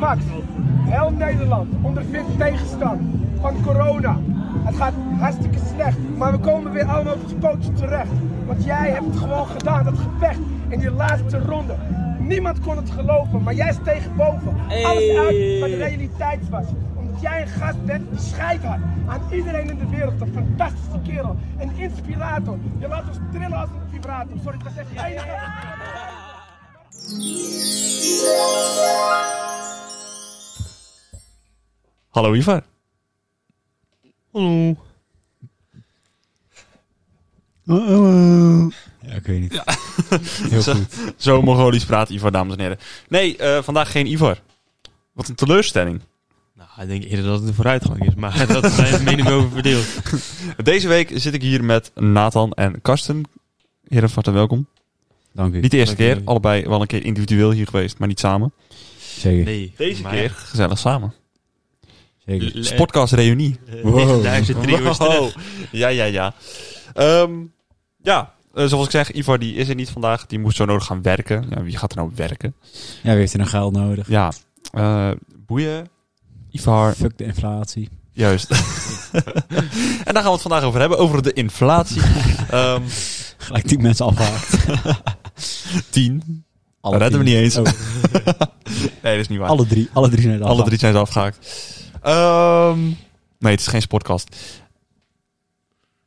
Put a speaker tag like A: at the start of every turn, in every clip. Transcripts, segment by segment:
A: Max, heel Nederland ondervindt tegenstand van corona. Het gaat hartstikke slecht, maar we komen weer allemaal op het pootje terecht. Want jij hebt het gewoon gedaan, dat gevecht in die laatste ronde. Niemand kon het geloven, maar jij steeg boven. Alles uit wat realiteit was. Omdat jij een gast bent die scheid had aan iedereen in de wereld. Een fantastische kerel, een inspirator. Je laat ons trillen als een vibrator. Sorry, ik was echt enige.
B: Hallo Ivar. Hallo.
C: Ja, ik weet niet. Heel
B: Zo-
C: goed.
B: Zo Mongolisch praat Ivar, dames en heren. Nee, eh, vandaag geen Ivar. Wat een teleurstelling.
D: Nou, ik denk eerder dat het een vooruitgang is, maar dat zijn de meningen over verdeeld.
B: Deze week zit ik hier met Nathan en Karsten. Heren, van harte welkom.
C: Dank u.
B: Niet de eerste
D: Dank
B: keer,
D: jullie.
B: allebei wel een keer individueel hier geweest, maar niet samen.
C: Zeker.
D: Nee,
B: Deze
D: maar-
B: keer gezellig samen.
C: Zeker.
D: Le-
B: Podcast reunie.
D: eh,
C: Wow.
D: 90.003 uur
B: Wow.
D: terug.
B: Ja, ja, ja. Ehm, ja, eh, zoals ik zeg, Ivar die is er niet vandaag. Die moest zo nodig gaan werken. Ja, wie gaat er nou werken?
C: Ja, wie heeft er een geld nodig?
B: Ja, eh, boeien. Ivar,
C: Fuck de inflatie.
B: juist. en daar gaan we het vandaag over hebben, over de inflatie. Ehm
C: Gelijk die mensen afhaakt.
B: tien.
C: Alle
B: redden we
C: drie.
B: niet eens.
C: Oh,
B: Nee, dat is niet waar.
C: alle drie. Alle drie zijn er
B: Alle
C: afgehaakt.
B: drie zijn ze afgehaakt. Ehm, nee, het is geen sportcast.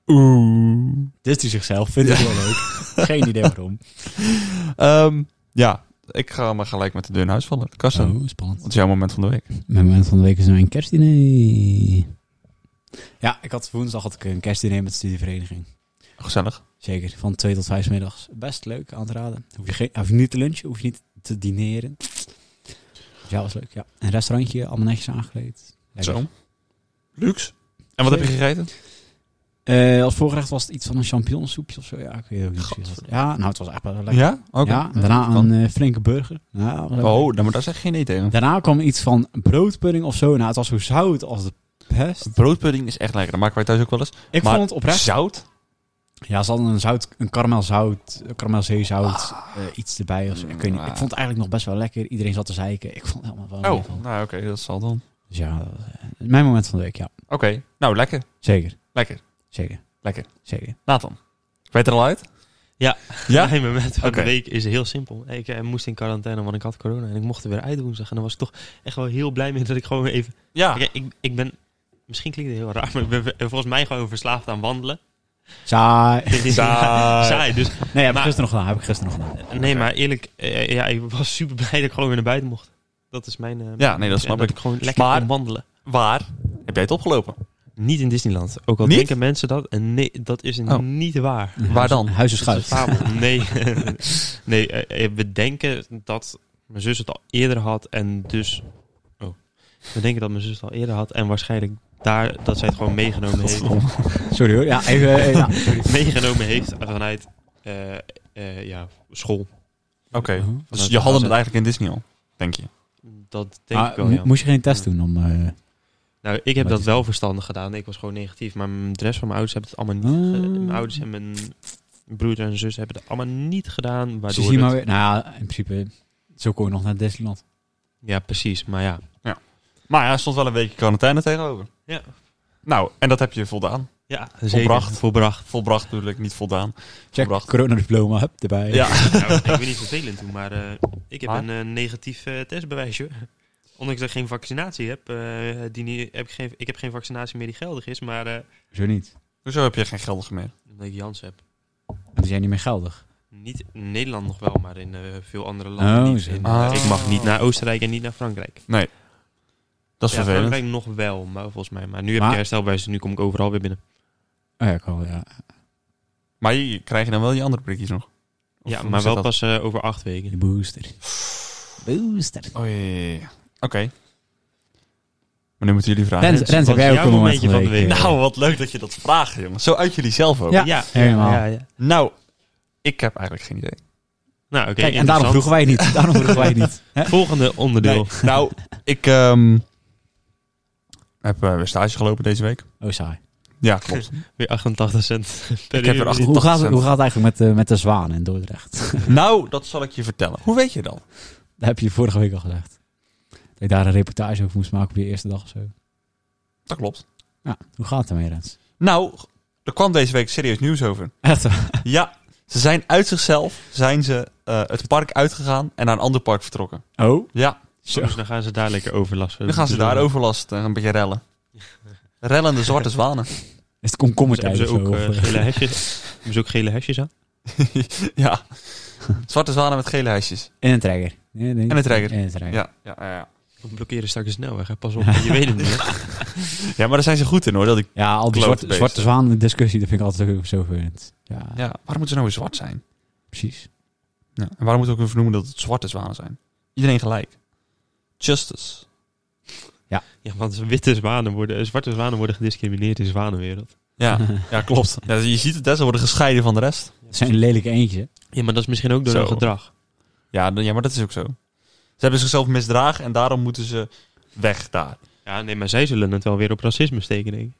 B: Oeh.
C: Dus die zichzelf vindt het wel leuk. Geen idee waarom.
B: Ehm, ja, ik ga maar gelijk met de deur in huis vallen. Karsten,
C: Oh, spannend.
B: wat is jouw moment van de week?
C: Mijn moment van de week is mijn kerstdiner. Ja, ik had woensdag had ik een kerstdiner met de studievereniging.
B: Gezellig.
C: Zeker, van 2 tot 5 middags. Best leuk aan te raden. Hoef je, geen, hoef je niet te lunchen, hoef je niet te dineren. Ja, was leuk. Ja. Een restaurantje, allemaal netjes aangekleed. Lekker.
B: Zo. Luxe. En wat heb je gegeten?
C: Eh, als voorgerecht was het iets van een champignonsoepje of zo. Ja, ik weet het ook niet. precies wat. Ja, nou, het was echt wel lekker.
B: Ja? Oké.
C: Ja, en daarna een eh, flinke burger. Ja, was lekker.
B: Oh, dan, maar daar zeg ik geen nee tegen.
C: Daarna kwam iets van broodpudding of zo. Nou, het was zo zout als de pest.
B: Broodpudding is echt lekker. Dat maken wij thuis ook wel eens.
C: Ik
B: Maar-
C: vond het oprecht.
B: Zout?
C: Ja, ze hadden een zout, een karamelzout, een karamelzeezout,
B: Ah.
C: eh, iets erbij. Of zo. Ik, weet niet. ik vond het eigenlijk nog best wel lekker. Iedereen zat te zeiken. Ik vond het helemaal wel
B: Oh,
C: lekker.
B: nou oké, dat zal dan.
C: Dus ja, dat was, eh, mijn moment van de week, ja.
B: Oké, nou lekker.
C: Zeker,
B: Lekker.
C: zeker,
B: Lekker.
C: zeker.
B: Nathan, ik weet er al uit.
D: Ja, mijn moment van
B: Oké.
D: de week is heel simpel. Ik eh, moest in quarantaine, want ik had corona en ik mocht er weer uit woensdag. En daar was ik toch echt wel heel blij mee dat ik gewoon even...
B: Ja.
D: Kijk, ik, ik ben... Misschien klinkt het heel raar, maar ik ben ver- volgens mij gewoon verslaafd aan wandelen.
C: Saai.
B: Saai.
D: Saai, dus
C: Nee, heb ik
D: Maar-
C: gisteren nog gedaan. Heb ik gisteren nog gedaan.
D: Nee, maar eerlijk, eh, ja, ik was super blij dat ik gewoon weer naar buiten mocht. Dat is mijn. eh,
B: Ja, nee, dat snap
D: en dat
B: ik.
D: ik gewoon lekker
B: Maar-
D: kon wandelen.
B: Waar heb jij het opgelopen?
D: Niet in Disneyland. Ook al
B: Niet?
D: denken mensen dat. En nee, dat is
B: Oh.
D: niet waar.
B: Waar dan?
C: Huis is
D: Dat is
C: schuif.
D: een fabel. Nee, nee eh, eh, we denken dat mijn zus het al eerder had. En dus. Oh. We denken dat mijn zus het al eerder had. En waarschijnlijk daar dat zij het gewoon meegenomen heeft.
C: Sorry hoor. Ja, even. eh, ja, sorry.
D: meegenomen heeft vanuit eh, eh, ja, school.
B: Oké.
C: Uh-huh.
B: Dus je had hem het eigenlijk in Disney al, denk je?
D: Dat denk
C: Maar
D: ik wel. Ja.
C: mo- Moest je geen test doen om... eh,
D: Nou, ik heb
C: Maar het
D: dat
C: is-
D: wel verstandig gedaan. Ik was gewoon negatief. Maar m- de rest van mijn ouders hebben het allemaal niet
C: Ah.
D: ge- Mijn ouders en mijn broer en zus hebben het allemaal niet gedaan.
C: ze
D: Waardoor
C: zien maar
D: het-
C: weer... Nou ja, in principe... Zo kon je nog naar Disneyland.
D: Ja, precies. Maar ja.
B: Maar ja, er stond wel een weekje quarantaine tegenover.
D: Ja.
B: Nou, en dat heb je voldaan.
D: Ja,
B: Volbracht.
D: Volbracht.
B: Volbracht bedoel ik, niet voldaan.
C: Check,
B: Bracht.
C: coronadiploma, hup, erbij.
B: Ja.
D: Nou, ik ben niet vervelend toen, maar eh, ik heb
B: Maar?
D: een eh, negatief eh, testbewijsje. Ondanks dat ik geen vaccinatie heb. eh, die niet, heb ik, geen, ik heb geen vaccinatie meer die geldig is. Maar eh,
C: Zo niet.
B: Hoezo heb je geen geldige meer?
D: omdat ik Jans heb.
C: Die zijn niet meer geldig.
D: Niet in Nederland nog wel, maar in eh, veel andere landen
C: Oh,
D: niet.
C: zo.
D: In, eh,
B: Ah.
D: Ik mag niet naar Oostenrijk en niet naar Frankrijk.
B: Dat is
D: ja,
B: vervelend.
D: Frankrijk nog wel, maar volgens mij. Maar nu heb
C: Maar-
D: ik herstelbewijs, dus nu kom ik overal weer binnen.
C: Oh ja, ik al, ja.
B: Maar je, krijg je dan wel je andere prikjes nog? Of
D: ja,
B: hoe
D: maar
B: zit dat?
D: wel pas eh, over acht weken.
C: De booster. Booster.
B: Oh ja, ja, ja, ja. Oké. Maar nu moeten jullie vragen.
C: Rens,
D: Rens,
C: Rens, heb
D: Dus wat
C: jij
D: is
C: ook
D: jouw
C: een moment van de
D: momentje
C: week?
D: van de
C: eh?
B: Nou, wat leuk dat je dat vraagt, jongens. Zo uit jullie zelf ook.
C: Ja, helemaal.
D: Ja, ja.
B: Nou, ik heb eigenlijk geen idee.
D: Nou, oké.
C: Kijk, en daarom
D: interessant.
C: vroegen wij het niet. Daarom vroegen wij het niet. Hè?
D: Volgende onderdeel.
B: Nee, nou, ik ehm, heb eh, weer stage gelopen deze week.
C: Oh, saai.
B: Ja, klopt.
D: Weer 88 cent per
B: Ik heb
D: uur.
B: er 88
C: Hoe gaat, het,
B: cent.
C: hoe gaat het eigenlijk met, eh, met de zwaan in Dordrecht?
B: Nou, dat zal ik je vertellen. Hoe weet je dat?
C: Dat heb je vorige week al gezegd. Dat je daar een reportage over moest maken op je eerste dag of zo.
B: Dat klopt.
C: Ja, hoe gaat het ermee, Rens?
B: Nou, er kwam deze week serieus nieuws over.
C: Echt waar?
B: Ja, ze zijn uit zichzelf zijn ze, eh, het park uitgegaan en naar een ander park vertrokken.
C: Oh,
B: Ja,
C: zo.
D: Dus dan gaan ze daar lekker overlast.
B: nu gaan ze daar overlast en een beetje rellen. Rellende zwarte zwanen.
C: Is het komkommertijd
D: Hebben
C: of
D: ze,
C: zo?
D: ook, eh,
C: Of, eh,
D: gele hesjes, hebben ze ook gele hesjes aan?
B: ja, zwarte zwanen met gele hesjes.
C: en een trekker. Nee, nee.
B: En een trekker.
C: En een trekker.
B: Ja, ja, ja, ja.
D: We blokkeren straks de snelweg, hè? pas op. Je weet het niet. hè?
B: ja, maar daar zijn ze goed in hoor. Dat ik...
C: Ja, al die
B: Klote
C: zwarte,
B: beest.
C: zwarte zwaan discussie, dat vind ik altijd ook zo vervelend. Ja,
B: ja, waarom moeten ze nou weer zwart zijn?
C: precies.
B: Ja. En waarom moet ik ook even vernoemen dat het zwarte zwanen zijn? Iedereen gelijk. Justice.
D: Ja, want witte zwanen worden, eh, zwarte zwanen worden gediscrimineerd in zwanenwereld.
B: Ja, ja klopt. Ja, je ziet het, hè, ze worden gescheiden van de rest.
C: Het zijn lelijke eentje.
D: Ja, maar dat is misschien ook door
B: Zo.
D: hun gedrag.
B: Ja, dan- ja, maar dat is ook zo. Ze hebben zichzelf misdragen en daarom moeten ze weg daar.
D: Ja, nee, maar zij zullen het wel weer op racisme steken, denk ik.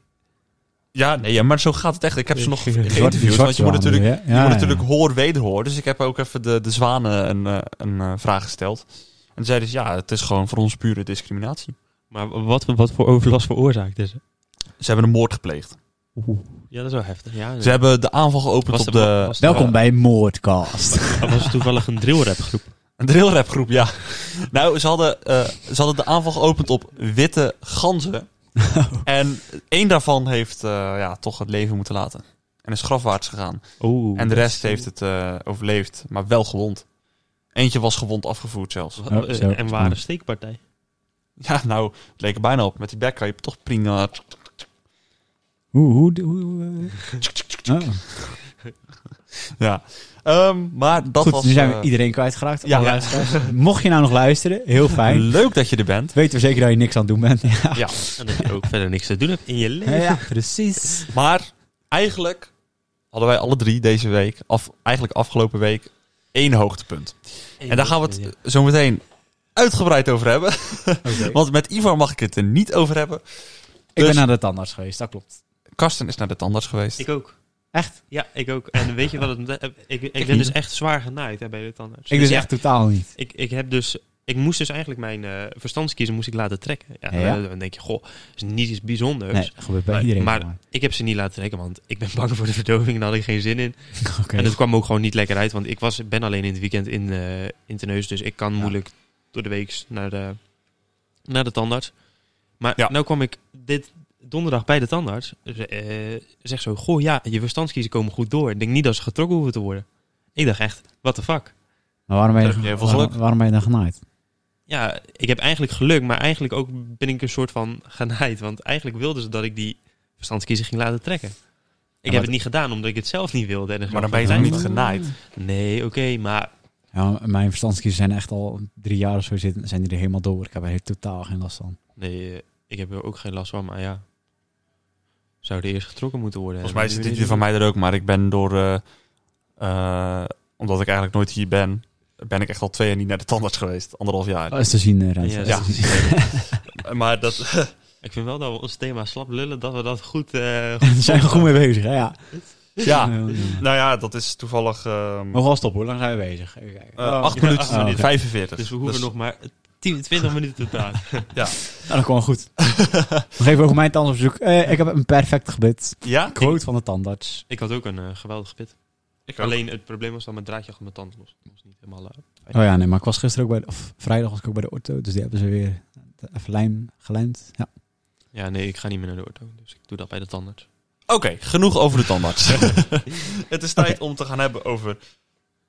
B: Ja, nee, ja, maar zo gaat het echt. Ik heb ze nog geïnterviewd.
C: zwarte
B: Want je moet
C: zwanen,
B: natuurlijk,
C: ja.
B: je
C: Ja,
B: moet
C: ja.
B: natuurlijk hoor wederhoor. Dus ik heb ook even de, de zwanen een, eh, een eh, vraag gesteld. En toen zeiden ze, ja, het is gewoon voor ons pure discriminatie.
D: Maar wat, wat voor overlast veroorzaakte ze?
B: Ze hebben een moord gepleegd.
D: Ja, dat is wel heftig. Ja,
B: Ze hebben de aanval geopend
D: Was
B: op
D: er-
B: de...
D: was er-
C: Welkom bij Moordcast.
D: Dat was toevallig een drillrapgroep.
B: Een drillrapgroep, ja. Nou, ze hadden, eh, ze hadden de aanval geopend op witte ganzen. En één daarvan heeft eh, ja, toch het leven moeten laten. En is grafwaarts gegaan.
D: Oh,
B: En de rest heeft het eh, overleefd, maar wel gewond. Eentje was gewond afgevoerd zelfs.
D: Wat-
C: Oh,
D: eh,
C: zo.
D: en waren steekpartij.
B: Ja, nou, het leek er bijna op. Met die bek kan je toch prima...
C: Hoe, hoe, hoe... hoe, eh? Oh.
B: Ja. Ehm, maar dat
C: Goed,
B: was...
C: nu zijn we
B: eh,
C: iedereen kwijtgeraakt.
B: Ja.
C: alle luisteraars. Mocht je nou nog luisteren, heel fijn.
B: leuk dat je er bent.
C: Weten we zeker dat je niks aan het doen bent. Ja,
B: Ja.
D: En dat je ook verder niks te doen hebt in je leven.
C: ja precies.
B: Maar eigenlijk hadden wij alle drie deze week, af, eigenlijk afgelopen week, één hoogtepunt. En daar gaan we het zo meteen uitgebreid over hebben. Want met Ivar mag ik het er niet over hebben.
C: Ik
B: Dus-
C: ben naar de tandarts geweest, dat klopt.
B: Karsten is naar de tandarts geweest.
D: Ik ook.
C: Echt?
D: Ja, ik ook. En weet je wat het... eh, Ik, ik, ben
B: niet.
D: dus echt zwaar genaaid hè, bij de tandarts.
C: Ik dus
D: Ja,
C: echt totaal niet.
D: Ik, ik heb dus... Ik moest dus eigenlijk mijn eh, verstandskiezen moest ik laten trekken. Ja,
C: Ja.
D: Dan denk je, goh, is niet iets bijzonders.
B: Dus-
C: Nee, gebeurt bij
D: Maar-
C: iedereen.
D: maar-
C: volgens
D: Ik heb ze niet laten trekken, want ik ben bang voor de verdoving en daar had ik geen zin in.
C: mij. Oké.
B: dus
D: En het kwam ook gewoon niet lekker uit, want ik was, ben alleen in het weekend in, eh in Teneus, dus ik kan
C: Ja.
D: moeilijk door de week naar de, naar de tandarts. Maar
B: Ja.
D: nou kwam ik dit donderdag bij de tandarts. Ze- eh zeg zo, goh ja, je verstandskiezen komen goed door. Ik denk niet dat ze getrokken hoeven te worden. Ik dacht echt, what the fuck.
C: Maar waarom ben,
B: Daar heb je
C: je,
B: heel veel
C: waarom,
B: geluk.
C: waarom ben je dan genaaid?
D: Ja, ik heb eigenlijk geluk, maar eigenlijk ook ben ik een soort van genaaid. Want eigenlijk wilden ze dat ik die verstandskiezen ging laten trekken. Ik
B: maar
D: heb het niet gedaan omdat ik het zelf niet wilde. En er
B: Maar
D: zou
B: dan ben je toch
D: geen
B: niet
D: tijd
B: genaaid?
D: voor. Nee, oké, maar
C: Ja, maar mijn verstandskiezen zijn echt al drie jaar of zo zitten, zijn die er helemaal door. Ik heb er heel totaal geen last van.
D: Nee, eh, ik heb er ook geen last van, maar ja. Zouden eerst getrokken moeten worden.
B: Volgens mij zit dit van mij er ook, maar ik ben door... eh, eh, omdat ik eigenlijk nooit hier ben, ben ik echt al twee jaar niet naar de tandarts geweest. Anderhalf jaar.
C: Oh, is te zien, eh, Rens.
D: Ja,
C: is
D: ja.
C: te zien.
B: Eh, Maar dat...
D: Ik vind wel dat we ons thema slap lullen, dat we dat goed... eh,
C: Daar zijn we goed mee bezig, hè? Ja.
B: Ja,
C: Heel jammer.
B: nou ja, dat is toevallig... ehm,
C: Maar wel stop, hoe lang zijn we bezig? Even kijken.
B: Eh, acht
D: ja,
B: minuten,
D: acht minuten.
B: Oh, oké. 45.
D: dus we hoeven nog maar 10, 20 minuten te praten.
C: Nou, dat kwam goed. Nog even over mijn tandartsbezoek. Eh, ik heb een perfect gebit.
B: Ja?
C: Quote van de tandarts.
D: Ik had ook een eh, geweldig pit. Alleen het probleem was dat mijn draadje achter mijn tand los. Dat was niet helemaal... eh,
C: Oh ja, nee, maar ik was gisteren ook bij de, of vrijdag was ik ook bij de ortho, dus die hebben ze weer even lijm gelijmd. Ja.
D: ja, nee, ik ga niet meer naar de ortho, dus ik doe dat bij de tandarts.
B: Oké, genoeg over de tandarts. het is tijd om te gaan hebben over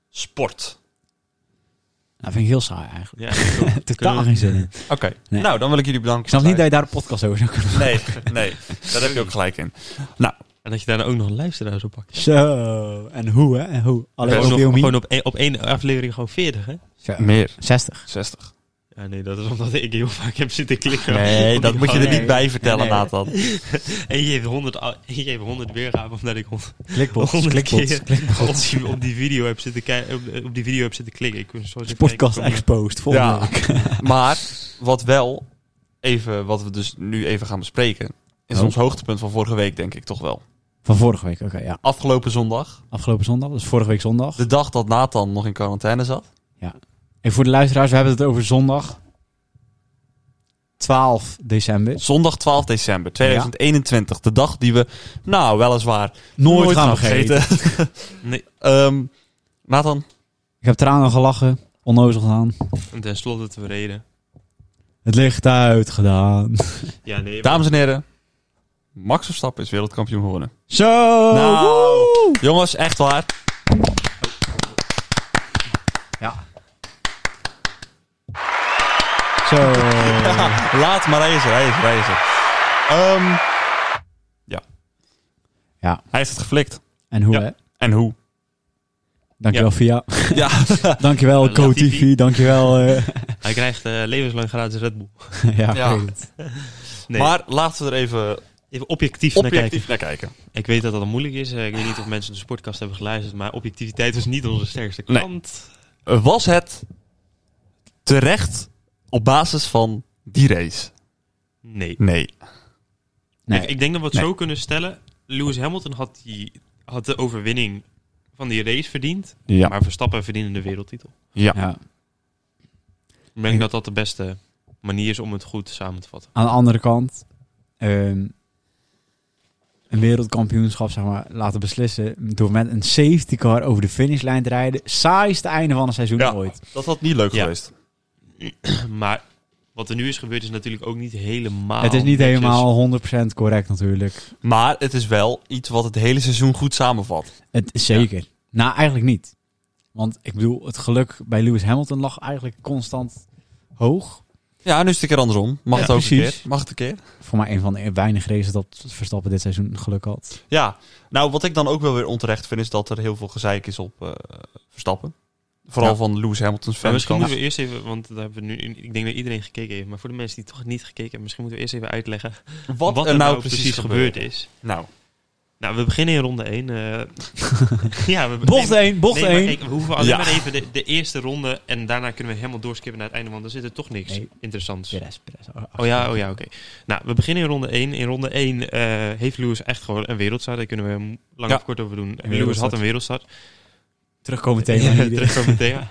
B: sport.
C: Dat Nou, vind ik heel saai eigenlijk.
D: Ja, ik ook.
C: Totaal geen zin in.
B: Oké,
C: Nee.
B: nou dan wil ik jullie bedanken.
C: Ik snap niet dat je daar een podcast over zou kunnen
B: Nee, nee, daar heb je ook gelijk in.
D: en dat je daarna ook nog luisteraars op pakt.
C: Zo, en hoe hè? En hoe? Alleen
D: Gewoon,
C: op
D: op,
C: Wilmi?
D: gewoon op, één- op één aflevering gewoon 40, hè?
C: Zo,
B: Meer.
C: 60.
B: 60.
D: Ja, nee, dat is omdat ik heel vaak heb zitten klikken.
B: Oh, Nee,
D: Op
B: dat
D: die
B: moet je er
D: gang.
B: niet bij vertellen,
C: Nee, nee.
B: Nathan.
D: En je geeft 100, a- en je geeft 100 weergaven omdat ik 100
C: Klikbots,
D: Honderd
C: klikbots,
D: keer. op
C: klikbots.
D: die, op die video heb zitten, kei- op, op die video heb zitten klikken. Ik kon zo zitten
C: Podcast
D: kijken.
C: exposed, volgende
B: Ja.
C: week.
B: Maar wat wel, even, wat we dus nu even gaan bespreken, is
C: Oh.
B: ons hoogtepunt van vorige week, denk ik toch wel.
C: Van vorige week, oké, ja.
B: Afgelopen zondag,
C: Afgelopen zondag, dus vorige week zondag.
B: de dag dat Nathan nog in quarantaine zat.
C: En voor de luisteraars, we hebben het over zondag. 12 december.
B: Zondag 12 december 2021. De dag die we, nou, weliswaar nooit, gaan, vergeten.
D: Nee,
B: Ehm Nathan,
C: Ik heb tranen gelachen, onnozel gedaan.
D: en tenslotte tevreden.
C: Het licht uit gedaan.
D: Ja, nee.
B: dames en heren. Max Verstappen is wereldkampioen geworden.
C: Zo!
B: Nou,
C: woe!
B: jongens, echt waar.
C: Zo.
B: Laat maar reizen, reizen, reizen. Ehm, ja.
C: Ja.
B: Hij heeft het geflikt.
C: En hoe,
D: Ja.
C: hè?
B: En hoe?
C: Dankjewel, Via.
B: Ja.
C: Dankjewel,
D: Latifi.
C: CoTV. Dankjewel. eh,
D: Hij krijgt eh, levenslang gratis Red Bull.
C: ja,
B: Ja.
C: ik weet het.
D: Nee,
B: Maar laten we er even
D: even objectief, naar kijken.
B: objectief naar kijken.
D: Ik weet dat dat moeilijk is. eh, Ik weet niet of mensen de sportkast hebben geluisterd. Maar objectiviteit was niet onze sterkste
B: Nee.
D: kant.
B: Eh, Was het terecht op basis van die race?
D: Nee.
B: Nee.
C: Nee.
D: Ik, ik denk dat we het
B: Nee.
D: zo kunnen stellen. Lewis Hamilton had, die, had de overwinning van die race verdiend.
B: Ja.
D: Maar Verstappen verdiende de wereldtitel.
B: Ja.
C: ja.
D: Ik denk dat dat de beste manier is om het goed samen te vatten.
C: Aan de andere kant, ehm, een wereldkampioenschap zeg maar, laten beslissen door met een safety car over de finishlijn te rijden. Saaiste einde van een seizoen
B: Ja.
C: ooit.
B: Dat had niet leuk
D: Ja.
B: geweest.
D: Maar wat er nu is gebeurd is natuurlijk ook niet helemaal...
C: het is niet
D: Nou, netjes.
C: helemaal 100% correct natuurlijk.
B: Maar het is wel iets wat het hele seizoen goed samenvat.
C: Het is zeker. Nou, eigenlijk niet. Want ik bedoel, het geluk bij Lewis Hamilton lag eigenlijk constant hoog.
B: Ja, nu is het een keer andersom. Mag
C: Ja,
B: het ook een
C: precies.
B: keer? Mag het een keer?
C: Voor mij een van de weinige races dat Verstappen dit seizoen geluk had.
B: Ja. Nou, wat ik dan ook wel weer onterecht vind, is dat er heel veel gezeik is op eh, Verstappen. Vooral
C: Ja.
B: van Lewis Hamilton's
D: Maar
B: fans.
D: misschien moeten we eerst even, want daar hebben we nu, ik denk dat iedereen gekeken heeft, maar voor de mensen die toch niet gekeken hebben, misschien moeten we eerst even uitleggen
B: wat, er nou, precies, gebeurd
D: gebeurd is.
B: Nou,
D: Nou, we beginnen in ronde 1. ja, we
C: Bocht
D: nee,
C: 1, bocht
D: nee, maar
C: 1.
D: ik- we hoeven alleen
B: Ja.
D: maar even de, de eerste ronde en daarna kunnen we helemaal doorskippen naar het einde, want er zit er toch niks
C: Nee.
D: interessants.
C: Perez, Perez.
D: Oh ja, oh ja, oké. Nou, we beginnen in ronde 1. In ronde 1 eh, heeft Lewis echt gewoon een wereldstart. Daar kunnen we hem lang
B: Ja.
D: of kort over doen. Lewis
C: wereldstart.
D: had een wereldstart.
C: Terugkomen
D: Ja,
C: tegen iedereen.
D: terugkomen op het thema.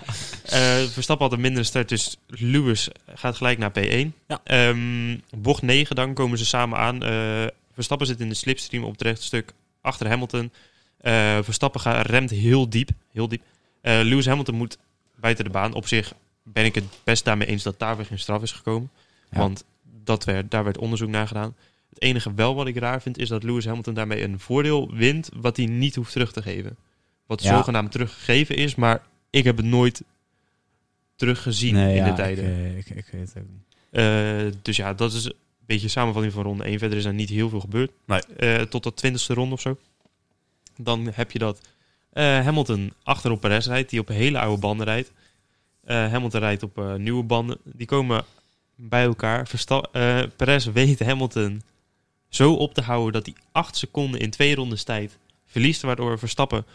D: Eh, Verstappen had een mindere start, dus Lewis gaat gelijk naar P1.
B: Ja.
D: Ehm, bocht 9, dan komen ze samen aan. Eh, Verstappen zit in de slipstream op het rechtstuk achter Hamilton. Eh, Verstappen gaat, remt heel diep. Heel diep. Eh, Lewis Hamilton moet buiten de baan. Op zich ben ik het best daarmee eens dat daar weer geen straf is gekomen.
C: Ja.
D: Want dat werd, daar werd onderzoek naar gedaan. Het enige wel wat ik raar vind is dat Lewis Hamilton daarmee een voordeel wint wat hij niet hoeft terug te geven. Wat
C: Ja.
D: zogenaamd teruggegeven is, maar ik heb het nooit teruggezien in
C: ja,
D: de tijden.
C: Ik, eh, ik, ik weet het ook niet.
D: Eh, dus ja, dat is een beetje een samenvatting van ronde 1. Verder is er niet heel veel gebeurd.
B: Nee.
D: Eh, tot de twintigste ronde of zo. Dan heb je dat eh, Hamilton achter op Perez rijdt, die op hele oude banden rijdt. Eh, Hamilton rijdt op eh, nieuwe banden. Die komen bij elkaar. Versta eh, Perez weet Hamilton zo op te houden dat hij 8 seconden in twee rondes tijd verliest. Waardoor Verstappen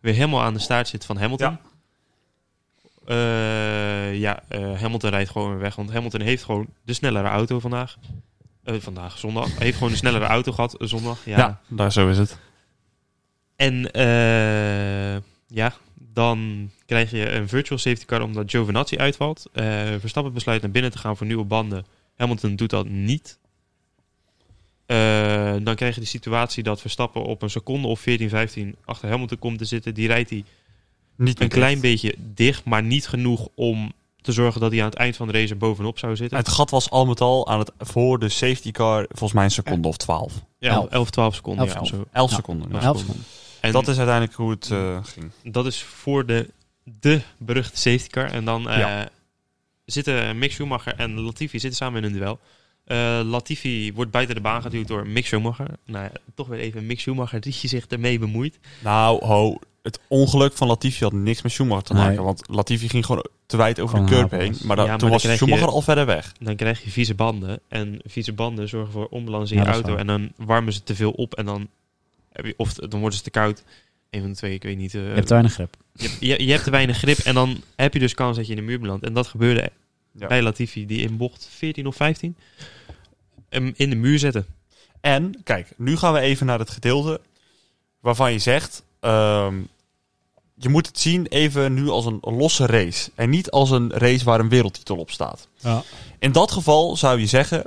D: weer helemaal aan de staart zit van Hamilton.
B: Ja.
D: Eh, ja, eh, Hamilton rijdt gewoon weer weg. Want Hamilton heeft gewoon de snellere auto vandaag. Eh, vandaag, zondag. Hij heeft gewoon de snellere auto gehad, eh, zondag. Ja.
B: ja. daar zo is het.
D: En eh, ja, dan krijg je een virtual safety car omdat Giovinazzi uitvalt. Eh, Verstappen besluit naar binnen te gaan voor nieuwe banden. Hamilton doet dat niet. Eh, dan krijg je de situatie dat Verstappen op een seconde of 14, 15 achter Hamilton komt te zitten. Die rijdt hij
B: Niet
D: een
B: meer
D: klein
B: dicht.
D: beetje dicht, maar niet genoeg om te zorgen dat hij aan het eind van de race er bovenop zou zitten.
B: Het gat was al met al aan het, voor de safety car volgens mij een seconde of twaalf.
D: Ja,
C: Elf.
D: 11, 12 seconden.
C: Elf
D: ja,
C: seconden.
D: of zo.
B: Elf
C: Ja.
B: seconden. ja.
D: Ja.
C: Elf
D: seconden.
C: seconden.
D: En
B: Dat is uiteindelijk hoe het eh, ging.
D: dat is voor de, de beruchte safety car. En dan eh,
B: Ja.
D: zitten Mick Schumacher en Latifi zitten samen in een duel. Eh, Latifi wordt buiten de baan geduwd door Mick Schumacher. Nou, ja, toch weer even Mick Schumacher die zich ermee bemoeit.
B: Nou, ho, het ongeluk van Latifi had niks met Schumacher te
C: Nee.
B: maken. Want Latifi ging gewoon te wijd over
C: Gewoon
B: de curb
C: hapers.
B: heen. Maar,
D: Ja,
B: dat-
D: maar
B: toen
D: dan
B: was
D: krijg je-
B: Schumacher al verder weg.
D: Dan krijg je vieze banden. En vieze banden zorgen voor onbalans in
C: Ja,
D: je
C: dat is
D: auto.
C: waar.
D: En dan warmen ze te veel op. En dan, heb je, of t- dan worden ze te koud. Een van de twee, ik weet niet. eh,
C: Je hebt te weinig grip.
D: je, hebt- je, je hebt te weinig grip. En dan heb je dus kans dat je in de muur belandt. En dat gebeurde
B: Ja.
D: bij Latifi. Die in bocht 14 of 15 hem in de muur zette.
B: En, kijk, nu gaan we even naar het gedeelte waarvan je zegt... ehm, je moet het zien even nu als een losse race. En niet als een race waar een wereldtitel op staat.
C: Ja.
B: In dat geval zou je zeggen...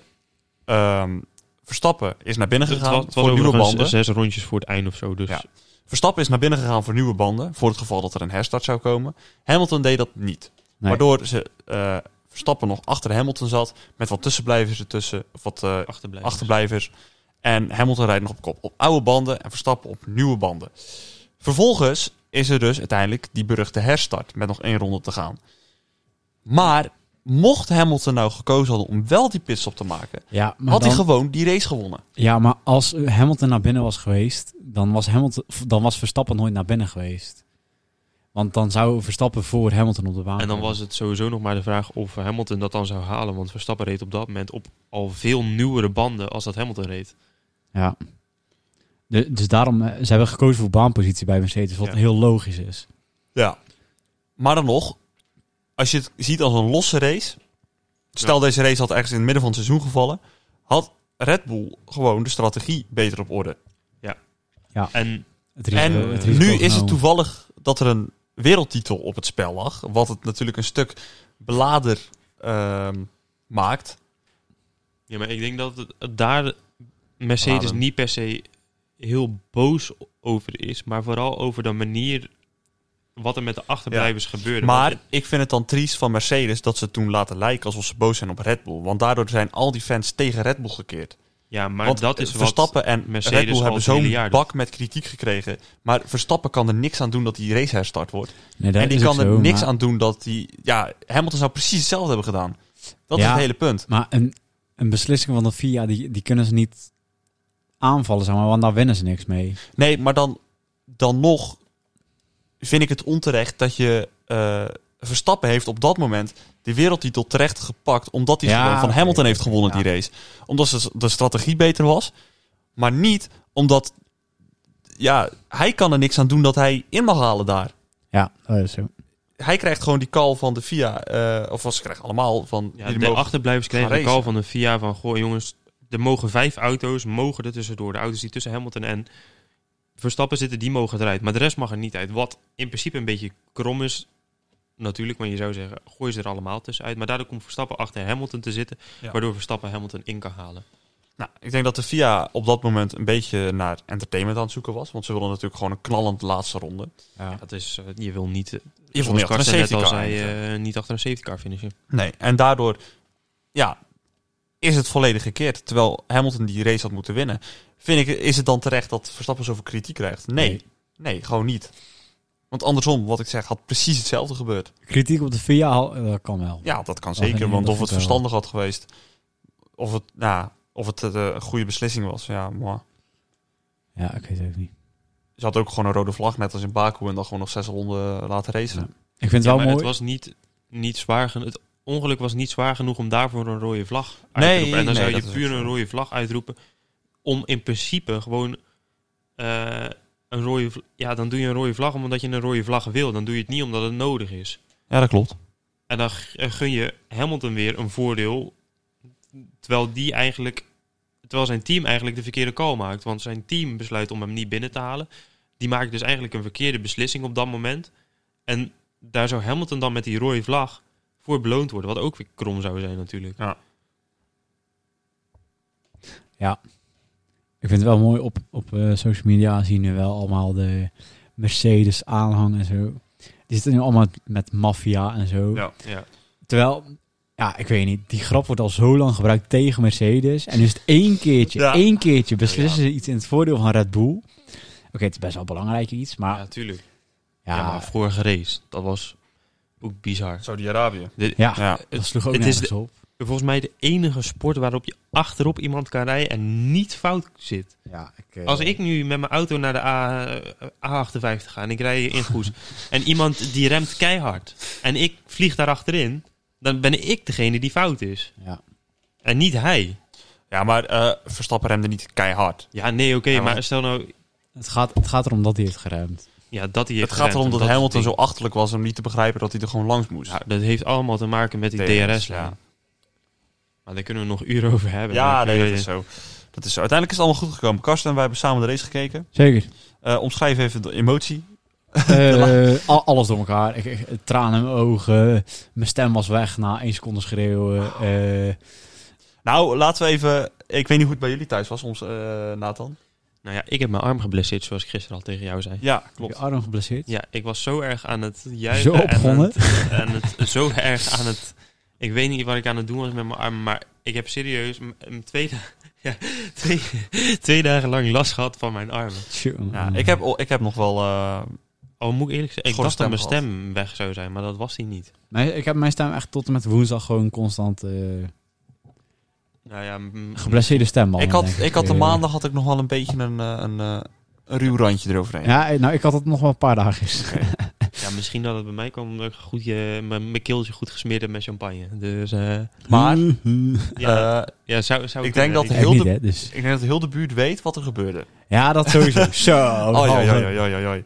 B: ehm, Verstappen is naar binnen
D: Het
B: gegaan
D: was, het was
B: voor nieuwe
D: overigens
B: banden.
D: zes rondjes voor het einde of zo. Dus
B: Ja. Verstappen is naar binnen gegaan voor nieuwe banden. Voor het geval dat er een herstart zou komen. Hamilton deed dat niet.
C: Nee.
B: Waardoor ze, eh, Verstappen nog achter Hamilton zat. Met wat tussenblijvers ertussen. Of wat eh,
D: achterblijven.
B: achterblijvers. En Hamilton rijdt nog op kop. Op oude banden en Verstappen op nieuwe banden. Vervolgens is er dus uiteindelijk die beruchte herstart. Met nog één ronde te gaan. Maar mocht Hamilton nou gekozen hadden om wel die pitstop te maken.
C: Ja, maar
B: had
C: dan-
B: hij gewoon die race gewonnen.
C: Ja, maar als Hamilton naar binnen was geweest, dan was, Hamilton, dan was Verstappen nooit naar binnen geweest. Want dan zou Verstappen voor Hamilton op de baan.
D: En dan
C: komen.
D: was het sowieso nog maar de vraag of Hamilton dat dan zou halen. Want Verstappen reed op dat moment op al veel nieuwere banden als dat Hamilton reed.
C: Ja. De- dus daarom, eh, ze hebben gekozen voor baanpositie bij Mercedes, wat
D: Ja.
C: heel logisch is.
B: Ja. Maar dan nog, als je het ziet als een losse race. Stel deze race had ergens in het midden van het seizoen gevallen. Had Red Bull gewoon de strategie beter op orde.
D: En
C: Het risico-
B: en
C: het risico
B: nu is het
C: genomen.
B: toevallig dat er een wereldtitel op het spel lag. Wat het natuurlijk een stuk belader ehm, maakt.
D: ja, maar ik denk dat het- het daar Mercedes
B: Laden.
D: niet per se heel boos over is. Maar vooral over de manier wat er met de achterblijvers gebeurde.
B: Maar ik vind het dan triest van Mercedes dat ze het toen laten lijken alsof ze boos zijn op Red Bull. Want daardoor zijn al die fans tegen Red Bull gekeerd.
D: ja, maar
B: Want
D: dat is wat...
B: Verstappen en
D: Mercedes
B: Red Bull
D: al
B: hebben
D: het hele
B: zo'n
D: jaar
B: bak met kritiek gekregen. Maar Verstappen kan er niks aan doen dat die race herstart wordt.
C: Nee, dat
B: en die
C: is ook
B: kan er
C: zo,
B: niks
C: maar-
B: aan doen dat die... Ja, Hamilton zou precies hetzelfde hebben gedaan. Dat is
C: Ja.
B: het hele punt.
C: Maar een, een beslissing van dat FIA, die, die kunnen ze niet aanvallen, zeg maar, want daar winnen ze niks mee.
B: Nee, maar dan, dan nog vind ik het onterecht dat je... eh, Verstappen heeft op dat moment die wereldtitel terecht gepakt... omdat hij
C: Ja,
B: gewoon van
C: oké,
B: Hamilton heeft gewonnen,
C: ja.
B: die race. Omdat ze- de strategie beter was. Maar niet omdat... Ja, hij kan er niks aan doen dat hij in mag halen daar.
C: Ja, dat is zo.
B: hij krijgt gewoon die call van de FIA. eh, of ze krijgen allemaal van.
D: Ja,
B: jullie
D: de
B: mogen-
D: achterblijvers kregen
B: gaan
D: een call
B: racen.
D: van de FIA van... Goh jongens, er mogen vijf auto's, mogen er tussendoor. De auto's die tussen Hamilton en Verstappen zitten, die mogen eruit. Maar de rest mag er niet uit. Wat in principe een beetje krom is, natuurlijk. Maar je zou zeggen, gooi ze er allemaal tussenuit. Maar daardoor komt Verstappen achter Hamilton te zitten.
B: Ja.
D: Waardoor Verstappen Hamilton in kan halen.
B: Nou, ik denk dat de FIA op dat moment een beetje naar entertainment aan het zoeken was. Want ze wilden natuurlijk gewoon een knallend laatste ronde.
C: Ja.
D: Dat is, eh, je wil niet... eh,
B: Je
D: zoals
B: achter een
D: Karsten net
B: safety
D: al
B: car
D: zei,
B: eindigen.
D: eh, niet achter een safety car finishen.
B: Nee, en daardoor ja, is het volledig gekeerd. Terwijl Hamilton die race had moeten winnen. Vind ik, is het dan terecht dat Verstappen zoveel kritiek krijgt? Nee, nee,
C: Nee.
B: gewoon niet. Want andersom, wat ik zeg, had precies hetzelfde gebeurd.
C: Kritiek op de FIA, al- eh, dat kan wel.
B: Ja, dat kan
C: Dat
B: zeker.
C: vind ik-
B: Want
C: dat
B: of het
C: vind ik wel.
B: verstandig had geweest, of het, nou, of het eh, een goede beslissing was, ja, maar.
C: Ja, ik weet het ook niet.
B: Ze had ook gewoon een rode vlag, net als in Baku, en dan gewoon nog zes ronden laten racen.
C: Ik vind het
D: Ja,
C: wel
D: maar
C: mooi.
D: het was niet, niet zwaar genoeg... Het ongeluk was niet zwaar genoeg om daarvoor een rode vlag uit
B: Nee,
D: te roepen. En dan
B: nee,
D: zou
B: dat
D: je
B: is
D: puur
B: ook zo.
D: een rode vlag uitroepen om in principe gewoon eh, een rode... vl- Ja, dan doe je een rode vlag omdat je een rode vlag wil. Dan doe je het niet omdat het nodig is.
B: Ja, dat klopt.
D: En dan g- eh, gun je Hamilton weer een voordeel, terwijl die eigenlijk... Terwijl zijn team eigenlijk de verkeerde call maakt. Want zijn team besluit om hem niet binnen te halen. Die maakt dus eigenlijk een verkeerde beslissing op dat moment. En daar zou Hamilton dan met die rode vlag voor beloond worden. Wat ook weer krom zou zijn natuurlijk.
C: Ik vind het wel mooi op, op eh, social media zien we wel allemaal de Mercedes aanhang en zo. Die zitten nu allemaal met maffia en zo.
B: Ja.
D: Ja.
C: Terwijl, ja, ik weet niet, die grap wordt al zo lang gebruikt tegen Mercedes. En nu is het één keertje,
B: Ja.
C: één keertje beslissen ze iets in het voordeel van Red Bull. Oké, het is best wel belangrijk iets, maar
D: Ja, tuurlijk. Ja,
C: Ah. ja,
D: maar
C: ja,
D: vorige race, dat was ook bizar.
B: Saudi-Arabië. Ja.
C: dat sloeg ook
D: het is
C: nergens op.
D: Volgens mij de enige sport waarop je achterop iemand kan rijden en niet fout zit.
C: Ja, ik, eh,
D: Als ik nu met mijn auto naar de A, eh, A58 ga en ik rij in Goes en iemand die remt keihard en ik vlieg daar achterin, dan ben ik degene die fout is.
C: Ja.
D: En niet hij.
B: Ja, maar eh, Verstappen remde niet keihard.
D: Ja, nee, oké,
B: Ja, maar-
D: maar stel nou
C: Het, gaat, het gaat erom dat hij heeft geremd.
D: ja, dat hij
B: Het
D: heeft
B: gaat
D: geremd,
B: erom dat
D: is het
B: Hamilton zo
D: ding.
B: achterlijk was om niet te begrijpen dat hij er gewoon langs moest.
D: Ja, dat heeft allemaal te maken met die
B: Tegen,
D: DRS-lijn.
B: ja.
D: Maar daar kunnen we nog uren over hebben.
B: Ja,
D: Maar
B: nee, dat
D: eh,
B: is zo. Dat is zo. Uiteindelijk is het allemaal goed gekomen. Karsten, wij hebben samen de race gekeken.
C: Zeker.
B: Eh, omschrijf even de emotie.
C: Eh, al- alles door elkaar. Ik, ik- tranen in mijn ogen. Mijn stem was weg na één seconde schreeuwen. Eh,
B: Nou, laten we even... Ik weet niet hoe het bij jullie thuis was soms, eh, Nathan.
D: Nou ja, ik heb mijn arm geblesseerd, zoals ik gisteren al tegen jou zei.
B: Ja,
C: je arm geblesseerd.
D: Ja, ik was zo erg aan het juichen.
C: Zo
D: en aan
C: opgewonden.
D: het- En het, zo erg aan het... Ik weet niet wat ik aan het doen was met mijn arm, maar ik heb serieus m- m- twee, da- ja, twee, twee dagen lang last gehad van mijn armen.
C: Tjonge.
B: Ja, ik, heb, ik heb nog wel... eh,
D: Al Oh, moet ik eerlijk zeggen, ik
B: Schorre
D: dacht dat mijn
B: stem
D: stem weg zou zijn, maar dat was die niet.
C: Nee, ik heb mijn stem echt tot en met woensdag gewoon constant eh
D: Nou ja, m-
C: geblesseerde stem.
B: ik, had, ik had de
C: Eh,
B: maandag had ik nog wel een beetje een, eh, een, eh, een ruw randje eroverheen.
C: Ja, eh, nou, ik had het nog wel een paar dagen gisteren.
D: ja, misschien dat het bij mij kwam omdat ik goed je, mijn, mijn keeltje goed gesmeerd heb met champagne. Dus eh,
B: Maar-
D: ja,
B: Eh,
D: ja, zou, zou
B: ik denk dat
C: Mm-hmm. Echt
B: heel
C: niet,
B: de-
C: hè, dus.
B: ik denk dat heel de buurt weet wat er gebeurde.
C: Ja, dat sowieso. Zo.
B: Oh, ja, ja, ja, ja, ja, ja.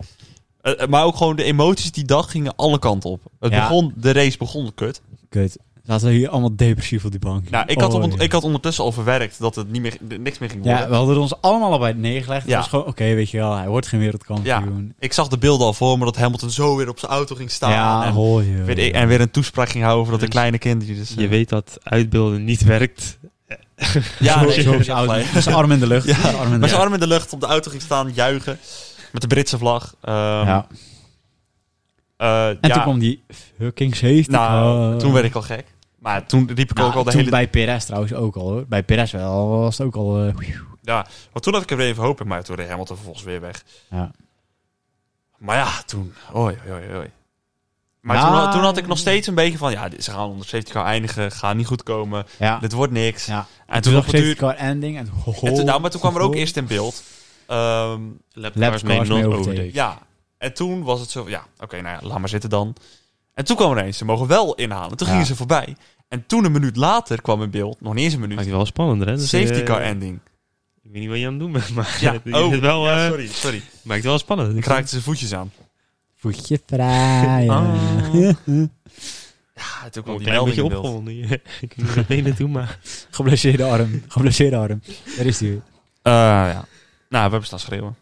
B: Eh, eh, maar ook gewoon de emoties die dag gingen alle kanten op. Het
C: Ja.
B: begon, de race begon kut.
C: Kut. Laten we hier allemaal depressief op die bank.
B: Nou, ik, had
C: Oh,
B: on-
C: ja.
B: ik had ondertussen al verwerkt dat het niet meer, d- niks meer ging worden.
C: Ja, we hadden er ons allemaal al bij het neergelegd. Het
B: Ja.
C: was gewoon, oké, weet je wel, hij wordt geen wereldkampioen.
B: Ik zag de beelden al voor me dat Hamilton zo weer op zijn auto ging staan. en,
C: hoor je.
B: weet ik- en weer een toespraak ging houden voor dat de
D: Dus
B: kleine kindjes. Dus, eh,
D: Je weet dat uitbeelden niet werkt.
B: ja,
C: zo,
B: nee,
C: zo op
B: je
C: zijn
B: hebt
C: auto.
B: gelijk.
C: Met zijn arm in de lucht.
B: Ja,
C: met zijn arm in de
B: Met zijn
C: lucht.
B: arm in de lucht op de auto ging staan, juichen. Met de Britse vlag. Ehm,
C: Ja.
B: eh,
C: En
B: ja,
C: toen kwam die fucking safety
B: nou,
C: car.
B: toen werd ik al gek. Maar toen riep ik
C: Nou,
B: ook al de
C: toen
B: hele...
C: bij Perez trouwens ook al hoor. Bij Perez wel, was het ook al... eh,
B: Ja, want toen had ik er weer even hoop in, maar toen reed Hamilton vervolgens weer weg.
C: ja.
B: Maar ja, toen. Oei, oei, oei. Maar
C: Ja.
B: toen, had- toen had ik nog steeds een beetje van, ja, dit- ze gaan onder safety car eindigen, gaan niet goed komen,
C: ja.
B: dit wordt niks.
C: ja.
B: En toen
C: Toen
B: nog
C: nog
B: een
C: safety
B: duur.
C: car ending. En, ho, ho,
B: En toen, nou, maar toen kwam er ook
C: ho.
B: eerst in beeld. Ehm,
D: Lapcars mee
C: Lapcars mee
D: not
C: overtake.
D: overtake.
B: ja, en toen was het zo, ja, oké, nou ja, laat maar zitten dan. En toen kwam er eens, ze mogen wel inhalen. Toen
C: Ja.
B: gingen ze voorbij. En toen een minuut later kwam in beeld, nog niet eens een minuut,
D: Maakt het wel spannender, hè? Dus,
B: safety
D: eh,
B: car ending.
D: Ik weet niet wat je aan het doen bent, maar
B: Ja,
D: het is
B: oh,
D: wel,
B: ja,
D: eh,
B: sorry, sorry.
D: maakt het wel spannend.
B: Ik raakte zijn voetjes aan.
C: Voetje vrij.
D: Oh.
C: eh.
B: Ah.
C: ja.
B: Ja, toen
D: Ik ben
B: kwam
D: een
B: die
D: klein
B: melding
D: beetje
B: in beeld.
D: opgewonden. hier. ik moet er benen naartoe, maar...
C: Geblesseerde arm. Geblesseerde arm. Daar is hij weer.
B: Eh, ja. Nou, we hebben staan schreeuwen.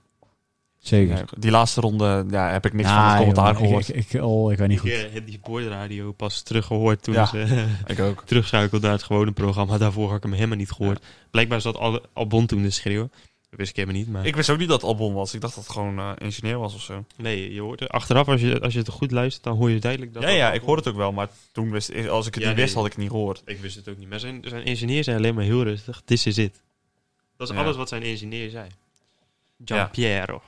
C: Zeker.
B: Ja, die laatste ronde ja, heb ik niks van
C: Ah,
B: het commentaar
C: joh,
B: gehoord.
C: Ik, ik, ik- oh, ik weet niet
D: Ik
C: goed.
D: eh, heb die boordradio pas teruggehoord toen
B: Ja.
D: ze eh,
B: Ik ook.
D: terugschakelde naar het gewone programma. Daarvoor had ik hem helemaal niet gehoord. Blijkbaar zat Al- Albon toen te schreeuwen. Dat wist ik helemaal niet, maar...
B: Ik wist ook niet dat het Albon was. Ik dacht dat het gewoon eh, ingenieur was of zo.
D: Nee, je hoort er, achteraf, als je, als je het goed luistert, dan hoor je duidelijk dat...
B: ja,
D: dat
B: ja,
D: Albon-
B: ik hoorde het ook wel. Maar toen wist ik, als ik het
D: Ja,
B: niet
D: nee.
B: wist, had ik het niet gehoord.
D: Ik wist het ook niet. Maar zijn, zijn ingenieur zei alleen maar heel rustig. This is it. Dat is
B: Ja.
D: alles wat zijn ingenieur zei.
B: Ja.
D: Giampiero.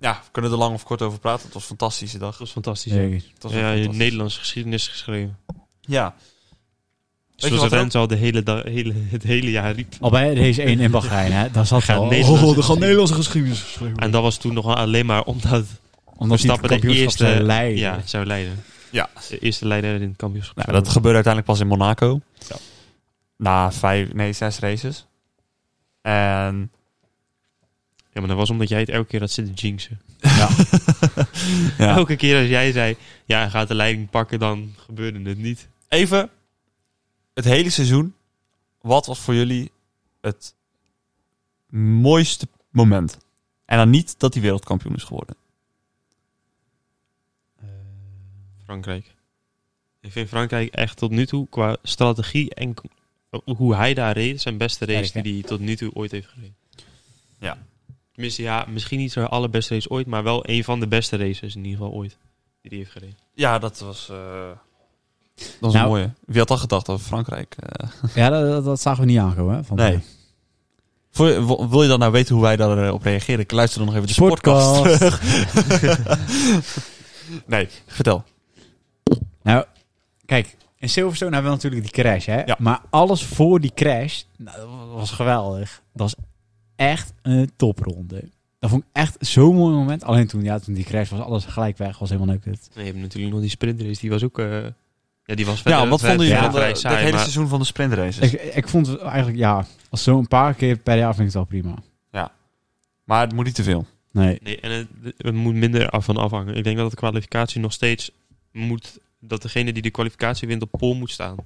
B: Ja, we kunnen er lang of kort over praten. Het was een fantastische dag.
D: Dat was fantastisch. hè?
C: Zeker.
B: Het was
D: ja,
B: echt
D: je
B: fantastisch.
D: Nederlandse geschiedenis geschreven.
B: Ja. je
D: Zoals
B: wat er
D: Rens al de hele da- hele, het hele jaar riep.
C: Al Oh, bij deze één in Bahrein, hè, daar zat
D: Gaat
C: al...
D: Nederlandse
C: Oh, er gaat Nederlandse geschiedenis geschreven.
D: En dat was toen nog alleen maar omdat
C: Omdat hij het
D: Verstappen de
C: kampioenschap
D: eerste
C: zou leiden.
D: Ja, zou leiden.
B: Ja.
D: De eerste leider in het kampioenschap.
B: Nou,
D: zou
B: dat gebeurde uiteindelijk pas in Monaco.
D: Ja.
B: Na vijf, nee, zes races. En
D: worden. Ja, maar dat was omdat jij het elke keer had zitten jinxen.
C: Ja.
B: Ja.
D: Elke keer als jij zei, ja, hij gaat de leiding pakken, dan gebeurde het niet.
B: even het hele seizoen. Wat was voor jullie het mooiste moment? En dan niet dat hij wereldkampioen is geworden.
D: Frankrijk. Ik vind Frankrijk echt tot nu toe qua strategie en k- hoe hij daar reed, zijn beste race
C: Erg, hè?
D: die hij tot nu toe ooit heeft gereden.
B: Ja.
D: Tenminste, ja, misschien niet zijn allerbeste race ooit, maar wel een van de beste races in ieder geval ooit die hij heeft gereden.
B: Ja, dat was. eh, Dat was
C: Nou-
B: een mooie. Wie had dat gedacht over Frankrijk? eh?
C: Ja, dat, dat, dat zagen we niet aankomen. Hè, van
B: nee. Voor, w- wil je dan nou weten hoe wij daarop reageren? Ik luister dan nog even de sportcast.
C: Sportcast.
B: nee, vertel.
C: Nou, kijk, in Silverstone hebben we natuurlijk die crash, hè?
B: Ja.
C: Maar alles voor die crash, nou, dat was geweldig. Dat was echt een topronde. Dat vond ik echt zo'n mooi moment. Alleen toen, ja, toen die crash was, alles gelijk weg. Was helemaal leuk.
D: Nee, je hebt natuurlijk nog die sprintrace, die was ook... eh, ja, die was
B: ja, wat vonden jullie
C: ja,
B: van de-
D: het
B: het hele seizoen van de sprintraces?
C: Ik, ik vond het eigenlijk, ja, als zo een paar keer per jaar vind ik het wel prima.
B: maar het moet niet te veel.
C: Nee.
D: Nee, en het, het moet minder af van afhangen. Ik denk dat de kwalificatie nog steeds moet... dat degene die de kwalificatie wint op pol moet staan.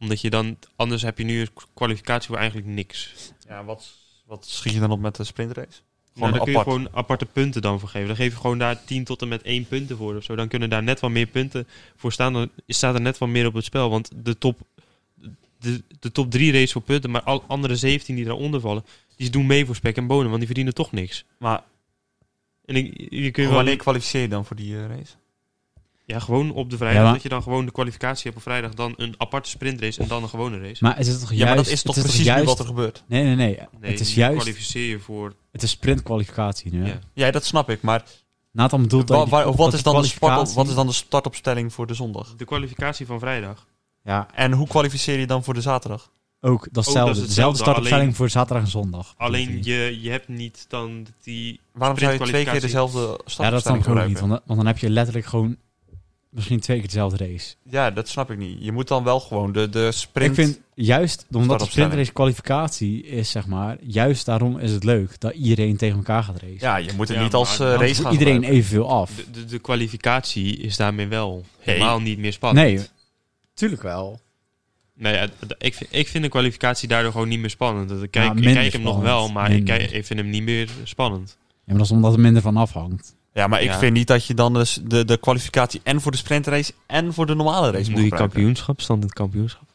D: Omdat je dan... anders heb je nu een kwalificatie voor eigenlijk niks.
B: Ja, wat, wat schiet je dan op met de sprintrace? Gewoon
D: nou, dan kun je
B: apart.
D: gewoon aparte punten dan voor geven. Dan geef je gewoon daar 10 tot en met 1 punten voor of zo. Dan kunnen daar net wat meer punten voor staan. Dan staat er net wat meer op het spel. Want de top, de, de top 3 race voor punten, maar al andere 17 die daaronder vallen, die doen mee voor spek en bonen, want die verdienen toch niks.
B: Maar
D: En ik, je kun je wel,
B: wanneer kwalificeer je dan voor die eh, race?
D: ja, gewoon op de vrijdag,
C: Ja, maar-
D: dat je dan gewoon de kwalificatie hebt op vrijdag, dan een aparte sprintrace en dan een gewone race.
C: Maar het is toch juist...
B: Ja, maar dat is toch
C: het
B: precies
C: juist,
B: nu wat er gebeurt?
C: Nee, nee, nee.
D: nee,
C: het is
D: je
C: juist...
D: kwalificeer je voor
C: Het is sprintkwalificatie nu, hè?
D: Ja.
B: Ja, dat snap ik. Maar
C: Nathan bedoelt dat
B: wa-
C: die-
B: waar-
C: dat
B: wat,
C: die
B: is dan de start,
C: kwalificatie-
B: wat is dan de startopstelling voor de zondag?
D: de kwalificatie van vrijdag.
C: Ja,
B: En hoe kwalificeer je dan voor de zaterdag?
C: ook datzelfde.
D: hetzelfde,
C: Dezelfde startopstelling
D: alleen-
C: voor zaterdag en zondag.
D: Alleen je, je hebt niet dan die.
B: Waarom zou je twee keer dezelfde
C: Ja, dat snap
B: startopstelling
C: ik ook
B: gebruiken?
C: niet. Want, dan- want dan heb je letterlijk gewoon misschien twee keer dezelfde race.
B: Ja, dat snap ik niet. Je moet dan wel gewoon de, de sprint...
C: Ik vind juist, omdat de
B: Startopstelling.
C: sprintrace kwalificatie is, zeg maar, juist daarom is het leuk dat iedereen tegen elkaar gaat racen.
B: Ja, je moet het
D: Ja,
B: niet als
D: maar
B: eh,
D: dan
B: race
C: Voor
B: gaan
C: iedereen
B: gebruiken.
C: evenveel af.
D: De, de, de kwalificatie is daarmee wel helemaal niet meer spannend.
C: Nee, tuurlijk wel.
D: Nou ja, d- ik, vind, ik vind de kwalificatie daardoor gewoon niet meer spannend. Dat Ik kijk,
C: Ja,
D: ik
C: Nou, minder
D: kijk hem nog
C: spannend.
D: wel, maar ik,
C: Minder.
D: kijk, ik vind hem niet meer spannend.
C: Ja, maar dat is omdat er minder van afhangt.
B: Ja, maar ik
D: Ja.
B: vind niet dat je dan dus de, de kwalificatie en voor de sprintrace en voor de normale race moet gebruiken.
D: kampioenschap, stand in het kampioenschap.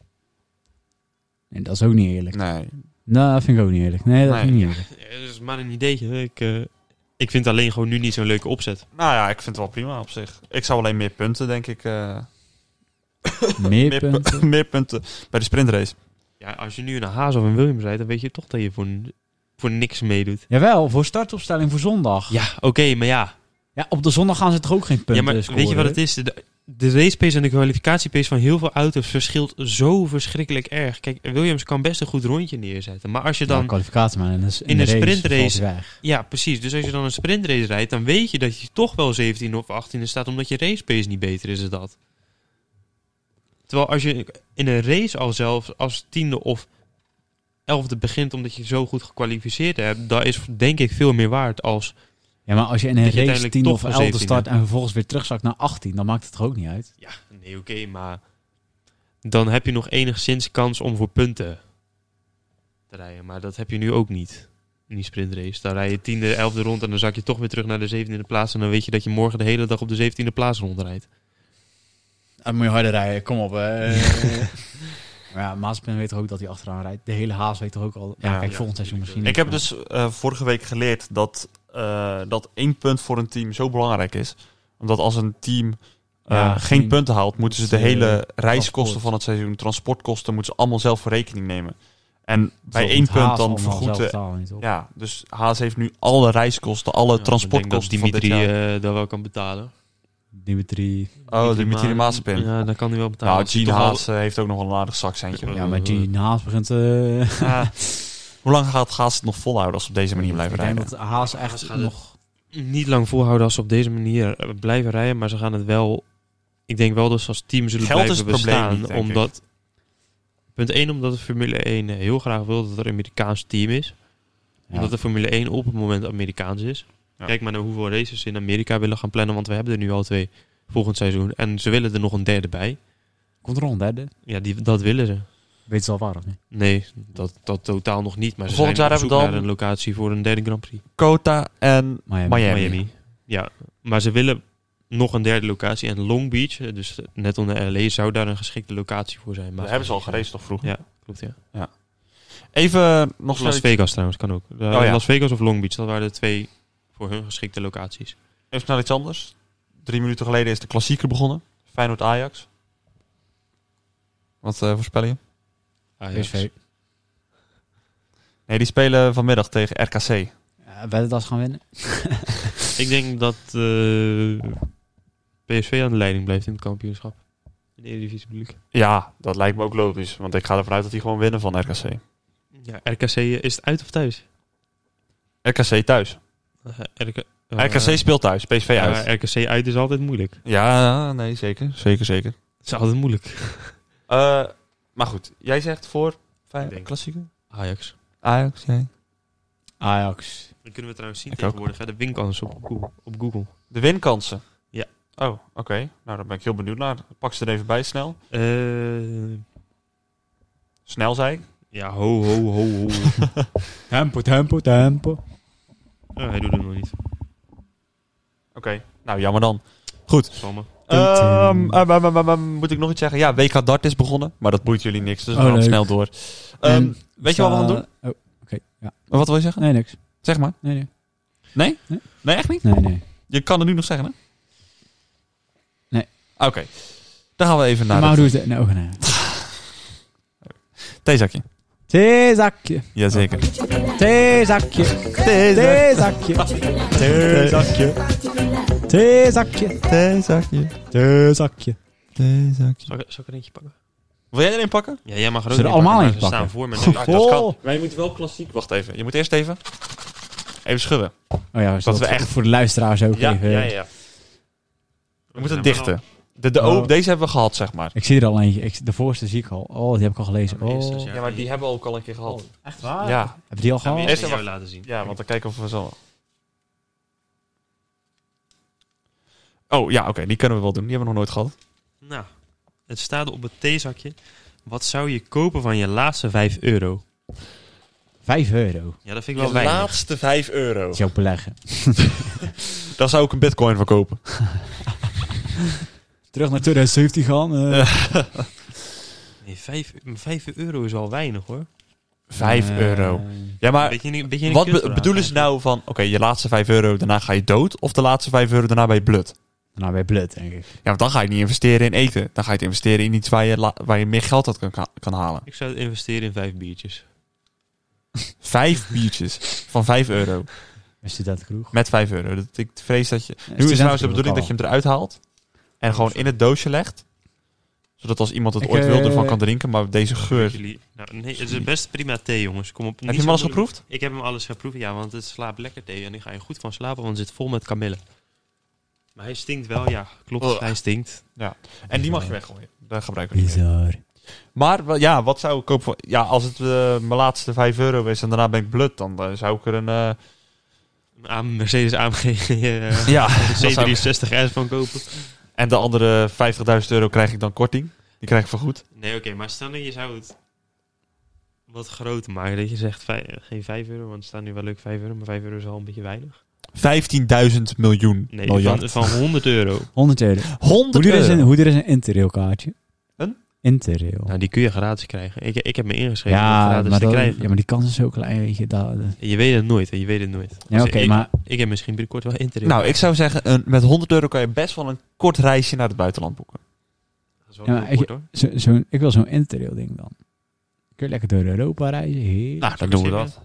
C: En dat is ook niet eerlijk.
B: Nee.
C: Nou, dat vind ik ook niet eerlijk. Nee, dat
B: Nee.
C: vind ik niet eerlijk.
D: Dat is maar een ideetje. Ik, eh, ik vind alleen gewoon nu niet zo'n leuke opzet.
B: Nou ja, ik vind het wel prima op zich. Ik zou alleen meer punten, denk ik. eh,
C: Meer
B: meer, pu-
C: punten.
B: meer punten bij de sprintrace.
D: Ja, als je nu een Haas of een Williams rijdt, dan weet je toch dat je voor, n- voor niks meedoet.
C: Jawel, voor startopstelling voor zondag. Ja.
D: Ja, oké, maar ja.
C: op de zondag gaan ze toch ook geen punten
D: ja, maar
C: scoren?
D: weet je wat het is? De, de racepace en de kwalificatiepace van heel veel auto's verschilt zo verschrikkelijk erg. Kijk, Williams kan best een goed rondje neerzetten. Maar als je
C: Ja,
D: dan...
C: kwalificatie, maar in een, in
D: in
C: de
D: een
C: race
D: sprintrace-
C: valt hij weg.
D: Ja, precies. Dus als je dan een sprintrace rijdt, dan weet je dat je toch wel 17 of 18 staat, omdat je racepace niet beter is dan dat. Terwijl als je in een race al zelfs als tiende of elfde begint, omdat je zo goed gekwalificeerd hebt, dat is denk ik veel meer waard als...
C: Ja, maar als je in een
D: Dat je
C: race
D: uiteindelijk
C: 10
D: toch
C: of
D: voor
C: 11
D: 17e
C: start en vervolgens weer terugzakt naar 18, dan maakt het toch ook niet uit.
D: Ja, nee, oké, maar... Dan heb je nog enigszins kans om voor punten te rijden. Maar dat heb je nu ook niet in die sprintrace. Dan rij je tiende, elfde rond en dan zak je toch weer terug naar de zeventiende plaats. En dan weet je dat je morgen de hele dag op de zeventiende plaats rondrijdt.
B: Oh,
C: Dan moet je harder rijden, kom op. maar ja, Maaspin weet toch ook dat hij achteraan rijdt. De hele Haas weet toch ook al. Ja,
B: Ja,
C: kijk,
D: ja,
C: volgend seizoen misschien.
B: Ik heb dus eh, vorige week geleerd dat, eh, dat één punt voor een team zo belangrijk is. Omdat als een team eh,
C: Ja,
B: geen
C: geen-
B: punten haalt, moeten ze de
C: eh,
B: hele reiskosten
C: transport.
B: van het seizoen, transportkosten, moeten ze allemaal zelf voor rekening nemen. En bij één punt dan
D: eh,
B: vergoeden. Ja, dus Haas heeft nu alle reiskosten, alle transportkosten
D: Ik denk
B: van
D: dat
B: dit
D: Dimitri
B: jaar.
D: eh, dat wel kan betalen.
C: Dimitri.
B: oh, Dimitri Maaspin.
D: Ja, dan kan hij wel betalen.
B: nou,
D: Dat is
B: Gene
D: toch al-
B: Haas eh, heeft ook nog wel een aardig zakcentje.
D: Ja,
C: Ja, maar die Haas begint. eh, ik
B: Ja. Hoe lang gaat Haas het nog volhouden als ze op deze manier blijven
C: denk
B: rijden?
C: dat Haas echt
D: Haas gaat het-
C: nog.
D: Niet lang volhouden als ze op deze manier eh, blijven rijden. Maar ze gaan het wel... Ik denk wel dat ze als team zullen
B: Geld is
D: blijven
B: het probleem
D: bestaan.
B: niet, denk ik.
D: omdat... Punt 1, omdat de Formule 1 heel graag wil dat er een Amerikaans team is.
C: Ja.
D: Omdat de Formule 1 op het moment Amerikaans is.
B: Ja.
D: Kijk maar naar hoeveel races ze in Amerika willen gaan plannen. Want we hebben er nu al twee volgend seizoen. En ze willen er nog een derde bij.
C: Komt er nog een derde?
D: Ja, die, dat willen ze.
C: Weet ze al waar of niet?
D: Nee, dat, dat totaal nog niet. Maar ze
B: Volgend
D: zijn
B: jaar
D: op zoek
B: hebben we dan-
D: naar een locatie voor een derde Grand Prix.
B: Kota en
C: Miami.
B: Miami.
D: Miami. Ja, maar ze willen nog een derde locatie. En Long Beach, eh, dus net onder LA, zou daar een geschikte locatie voor zijn. Maar
B: Daar hebben ze al gereden toch vroeg?
D: Ja, klopt ja.
B: Even nog
D: Of Las
B: snel,
D: Vegas trouwens, kan ook. Eh,
B: Oh ja.
D: Las Vegas of Long Beach, dat waren de twee voor hun geschikte locaties.
B: even snel iets anders. Drie minuten geleden is de klassieker begonnen. Feyenoord-Ajax. Wat eh, voorspel je?
D: Ajax.
C: PSV.
B: Nee, die spelen vanmiddag tegen RKC.
C: Ja, Weddendas gaan winnen.
D: Ik denk dat eh, PSV aan de leiding blijft in het kampioenschap. In de Eredivisie bedoel ik.
B: Ja, dat lijkt me ook logisch. Want ik ga ervan uit dat die gewoon winnen van RKC.
D: Ja, RKC, eh, is het uit of thuis?
B: RKC thuis.
D: Eh, RK,
B: RKC speelt thuis, PSV uit.
D: eh, Ja, RKC uit is altijd moeilijk.
B: Ja, nee, zeker. Zeker, zeker.
D: Het is altijd moeilijk.
B: Eh, maar goed, jij zegt voor
D: Ik denk-
B: klassieker?
D: Ajax.
B: Ajax, jij?
C: Ajax.
D: Dat kunnen we trouwens zien
B: Ik ook.
D: tegenwoordig. Hè? De winkans op Google. Op Google.
B: De winkansen?
D: Ja.
B: Oh, oké. Nou, daar ben ik heel benieuwd naar. Pak ze er even bij, snel.
D: Eh,
B: Snel, zei ik.
D: ja, ho, ho, ho, ho.
C: Tempo, tempo, tempo.
D: Oh, hij doet hem nog niet.
B: Oké, nou jammer dan. Goed.
D: Samen.
B: Ehm, ehm, ehm, ehm, ehm, moet ik nog iets zeggen? Ja, WK Dart is begonnen, maar dat boeit jullie niks. Dus we
C: Oh,
B: gaan
C: leuk.
B: snel door. Ehm,
C: En
B: weet je wat we gaan doen?
C: Oh, oké. Ja.
B: Wat wil je zeggen?
C: Nee, niks.
B: Zeg maar.
C: Nee, Nou, nee.
B: Nee? Nee,
C: Nee.
B: Nou, echt niet?
C: Nee, nee.
B: Je kan het nu nog zeggen, hè? Ah,
C: Nee.
B: Oké. Dan gaan we even naar
C: maar
B: het
C: doe het in de ogen. hè.
B: theezakje.
C: Theezakje.
B: Jazeker.
C: Theezakje.
B: Theezakje.
C: Theezakje.
B: Theezakje.
C: Theezakje.
B: Theezakje.
C: Theezakje.
D: Zal ik, zal ik er eentje pakken?
B: Wil jij er een pakken?
D: Ja, jij mag er ook
C: Zullen
D: een
C: we allemaal
D: maar
C: eentje
D: ze staan
C: pakken?
D: voor Ah, mijn neus.
B: dat kan.
C: Oh
B: Wij moeten wel klassiek. Wacht even. Je moet eerst even... Even schudden.
C: Oh, ja, dat
B: we
C: we
B: echt-
C: echt voor de luisteraars ook
B: Ja,
C: even.
B: ja, ja. We moeten het dichten. De, de, oh,
C: Oh.
B: deze hebben we gehad, zeg maar.
C: Ik zie er al eentje. Ik, de voorste zie ik al. Oh, die heb ik al
D: Ja,
C: gelezen.
D: maar eerst is
C: Oh.
D: ja.
B: Ja, maar die hebben we ook al een keer gehad.
C: Echt waar? Hebben
B: Ja,
C: we die al
D: Gaan we
C: gehad?
D: eerst
B: Eerst
D: aan jou
B: even-
D: laten zien.
B: ja want dan kijken of we zo... Oh, ja, oké. die kunnen we wel doen. Die hebben we nog nooit gehad.
D: Nou, het staat op het theezakje. Wat zou je kopen van je laatste 5 euro?
C: Vijf euro.
D: Ja, dat vind ik wel weinig.
B: laatste 5 euro.
C: Dat is jouw beleggen.
B: Daar zou ik een bitcoin voor kopen.
C: Terug naar 2017 gaan. eh.
D: Nee, 5, 5 euro is al weinig hoor.
B: 5
C: Eh,
B: euro. Ja, maar
D: beetje, een beetje een
B: wat be-
D: kutvraag
B: bedoelen ze nou van... Oké, je laatste 5 euro, daarna ga je dood. Of de laatste 5 euro, daarna ben je blut.
C: Nou, bij blut, denk ik.
B: Ja, want dan ga je niet investeren in eten. Dan ga je het investeren in iets waar je, la- waar je meer geld uit kan, kan halen.
D: Ik zou investeren in 5 biertjes.
B: Vijf biertjes van 5 euro.
C: Een studentenkroeg.
B: Met 5 euro. Dat, ik vrees dat je... Nu is
C: Studentenkroeg,
B: trouwens de bedoeling
C: kan
B: dat je hem eruit haalt. En gewoon in het doosje legt. Zodat als iemand het
C: Ik,
B: ooit wil
C: eh,
B: ervan kan drinken. Maar deze geur...
D: Jullie, nou, nee, het is best prima thee jongens. Kom op.
B: Heb je hem al eens geproefd?
D: Ik heb hem alles geproefd, ja, want het slaapt lekker thee. En ik ga je goed van slapen, want het zit vol met kamille. Maar hij stinkt wel, ja, klopt.
C: Oh.
B: Ugh.
D: Hij stinkt.
B: En die mag je weggooien. Daar gebruiken we niet meer.
C: Bizar.
B: Maar wel- ja, wat zou ik kopen? voor- Ja, als het eh, mijn laatste 5 euro is en daarna ben ik blut. Dan eh, zou ik er een... eh,
D: Aan Mercedes AMG eh,
B: Ja,
D: C63S van kopen.
B: En de andere 50.000 euro krijg ik dan korting. Die krijg ik vergoed.
D: Nee, oké, maar stel dat je zou het wat groter maken. Dat je zegt vij- geen 5 euro, want het staat nu wel leuk 5 euro, maar 5 euro is al een beetje weinig.
B: 15.000 miljoen.
D: Nee,
B: miljard.
D: van, van 100 euro.
C: 100 euro.
B: 100
C: Hoe er is
B: euro.
C: een, hoe er is een interrail kaartje.
B: Een?
C: Interrail.
D: Nou, die kun je gratis krijgen. Ik, ik heb me ingeschreven om
C: ja,
D: gratis
C: maar
D: te
C: dat-
D: krijgen.
C: ja, maar die kans is zo klein. Weet je, dat, dat-
D: Je weet het nooit, hè, je weet het nooit.
C: Ja,
D: Dus
C: oké,
D: ik-
C: maar-
D: Ik heb misschien binnenkort wel internet.
B: Nou, ik zou zeggen, een, met 100 euro kan je best wel een kort reisje naar het buitenland boeken.
D: dat is wel
C: Ja, maar
D: heel kort, hoor.
C: zo, zo'n- ik wil zo'n interrail ding dan. Kun je lekker door Europa reizen. Heerlijk.
B: Nou, dan doen we
D: zeggen?
B: dat.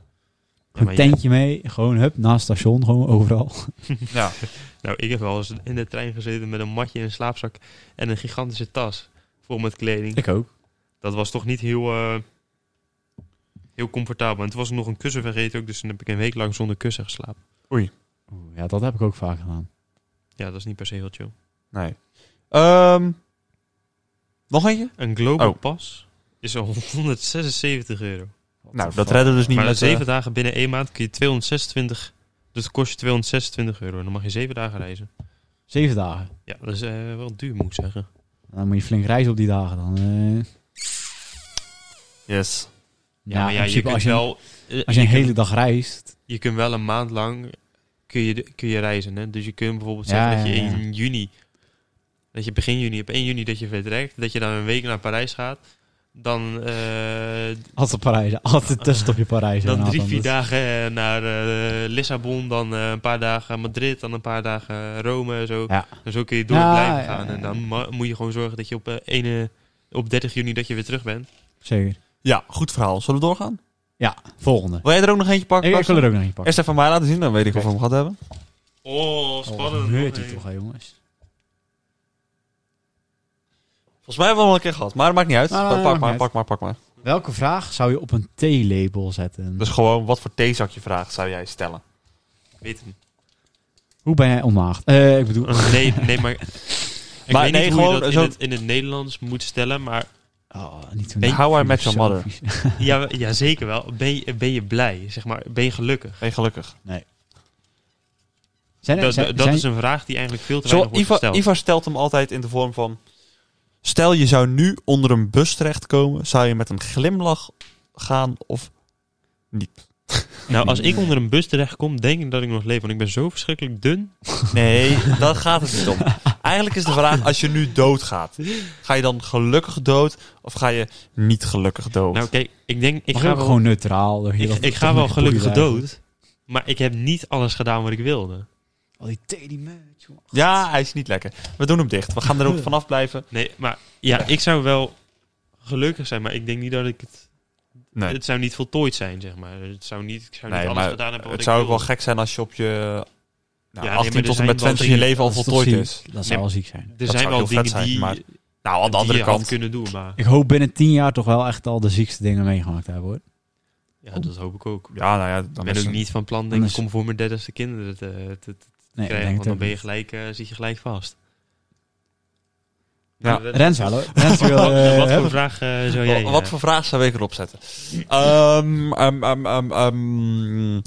D: Ja, maar
C: een
D: je-
C: tentje mee. Gewoon hup, naast het station. Gewoon overal.
B: Ja.
D: Nou, ik heb wel eens in de trein gezeten met een matje in een slaapzak en een gigantische tas vol met kleding.
C: Ik ook.
D: Dat was toch niet heel, eh, heel comfortabel. En toen was ik nog een kussen vergeten ook, dus toen heb ik een week lang zonder kussen geslapen.
C: Ja, dat heb ik ook vaak gedaan.
D: Ja, dat is niet per se heel chill.
B: Nee. Ehm, nog eentje?
D: Een Global
B: Oh.
D: Pass is al 176 euro.
B: Nou, dat redden we dus niet
D: maar na
B: met... eh,
D: 7 dagen binnen één maand kun je 226... Dus het kost je 226 euro. En Dan mag je 7 dagen reizen.
C: Zeven dagen.
D: Ja, dat is eh, wel duur, moet ik zeggen.
C: Dan moet je flink reizen op die dagen dan. eh.
B: yes.
D: Ja, maar
C: in
D: ja, je
C: principe
D: kunt
C: als je,
D: wel... eh,
C: als je een
D: kunt-
C: hele dag reist.
D: je kunt wel een maand lang kun je, de- kun je reizen. Hè? Dus je kunt bijvoorbeeld
C: Ja,
D: zeggen dat
C: ja,
D: je
C: ja.
D: in juni, dat je begin juni, op 1 juni dat je vertrekt, dat je dan een week naar Parijs gaat. Dan, eh,
C: Altijd Parijs. Altijd tussenstopje Parijs.
D: dan
C: inderdaad,
D: drie,
C: want
D: vier
C: dat-
D: dagen eh, naar eh, Lissabon, dan eh, een paar dagen Madrid, dan een paar dagen Rome en zo.
C: Ja.
D: En zo kun je door
C: Ja,
D: blijven
C: ja,
D: gaan.
C: ja,
D: En dan
C: ja.
D: ma- moet je gewoon zorgen dat je op, eh, ene, op 30 juni dat je weer terug bent.
C: Zeker.
B: Ja, goed verhaal. Zullen we doorgaan?
C: Ja, volgende.
B: Wil jij er ook nog eentje pakken?
C: Ik, ik
B: Karsten?
C: wil er ook nog een pakken.
B: Eerst even van mij laten zien, dan weet ik of we hem gehad hebben.
D: Oh, spannend.
C: Heurt hij toch, hè, jongens?
B: Volgens mij hebben we hem al een keer gehad, maar dat maakt niet uit.
C: Nou, nou,
B: pak,
C: nou,
B: pak, maar,
C: maakt niet
B: pak maar, pak maar.
C: Welke vraag zou je op een T-label zetten?
B: Dus gewoon, wat voor theezakje vraag zou jij stellen?
C: Oh.
D: Weet hem.
C: Hoe ben jij onmaagd? Eh, ik bedoel...
D: Nee, nee, maar... Ik
B: Maar
D: weet
B: nee,
D: niet hoe
B: gewoon
D: je dat
B: zo-
D: in, het, in het Nederlands moet stellen, maar...
C: Oh, niet zo
B: Nee, How I Met Your Mother.
C: filosofisch.
D: ja, ja, zeker wel. Ben je, ben je blij, zeg maar. Ben je gelukkig?
B: Geen gelukkig.
C: Zijn, er-
D: Dat,
C: zijn,
D: dat
C: zijn-
D: is een vraag die eigenlijk veel te
B: Zo,
D: weinig wordt
B: Iva,
D: gesteld.
B: Iva stelt hem altijd in de vorm van... Stel je zou nu onder een bus terechtkomen, zou je met een glimlach gaan of niet?
D: Nou, als ik onder een bus terechtkom, denk ik dat ik nog leef. Want ik ben zo verschrikkelijk dun.
B: Nee, daar gaat het niet om. Eigenlijk is de vraag, als je nu doodgaat, ga je dan gelukkig dood of ga je niet gelukkig dood?
D: Nou, kijk, ik denk... Ik
C: Ik
D: ga
C: ga
D: wel,
C: gewoon neutraal. door heel
D: ik,
C: dat-
D: ik
C: dat
D: ga wel
C: met boeien
D: gelukkig
C: eigenlijk.
D: dood. Maar ik heb niet alles gedaan wat ik wilde.
C: Al die teddy merch, jongen.
B: Ja, hij is niet lekker. We doen hem dicht. We gaan er ook vanaf blijven.
D: Nee, maar ja, ik zou wel gelukkig zijn. Maar ik denk niet dat ik het...
B: Nee,
D: Het zou niet voltooid zijn, zeg maar. Het zou niet, ik zou niet
B: nee
D: alles
B: maar
D: gedaan hebben wat
B: het
D: ik
B: zou ook wel
D: wilde.
B: gek zijn als je op je nou,
D: Ja, nee,
B: 18
D: maar er
B: tot en met
D: zijn wel
B: 20 je
D: dingen-
B: leven al
C: Dat is toch
B: voltooid dus.
C: ziek?
B: is.
C: Dat zou
D: Nee,
C: wel ziek zijn.
D: Er
B: dat
D: zijn
B: zou
D: wel
B: heel vet
D: dingen
B: zijn,
D: die,
B: maar Nou, aan de
D: die
B: andere
D: je had
B: kant.
D: kunnen doen. Maar
C: Ik hoop binnen tien jaar toch wel echt al de ziekste dingen meegemaakt te hebben, hoor.
D: ja, dat hoop ik ook.
B: Ja, nou ja,
D: Ik
B: dan
D: ben
B: is
D: ook
B: het-
D: niet van plan,
C: dan
D: denk ik,
C: is-
D: kom voor mijn dertigste kinderen te, te- te
C: Nee,
D: krijgen.
C: ik
D: Want dan
C: denk
D: ben je
C: het ook
D: gelijk, eh, zit je gelijk vast. Nou,
B: Ja.
C: niet. Rens, hallo. Rens wil...
D: Wat,
C: eh,
D: wat voor
C: hebben.
D: vraag eh, zou jij...
B: Wa- Wat
D: eh,
B: voor vraag zou ik erop zetten? Ehm, ehm, ehm, ehm, ehm,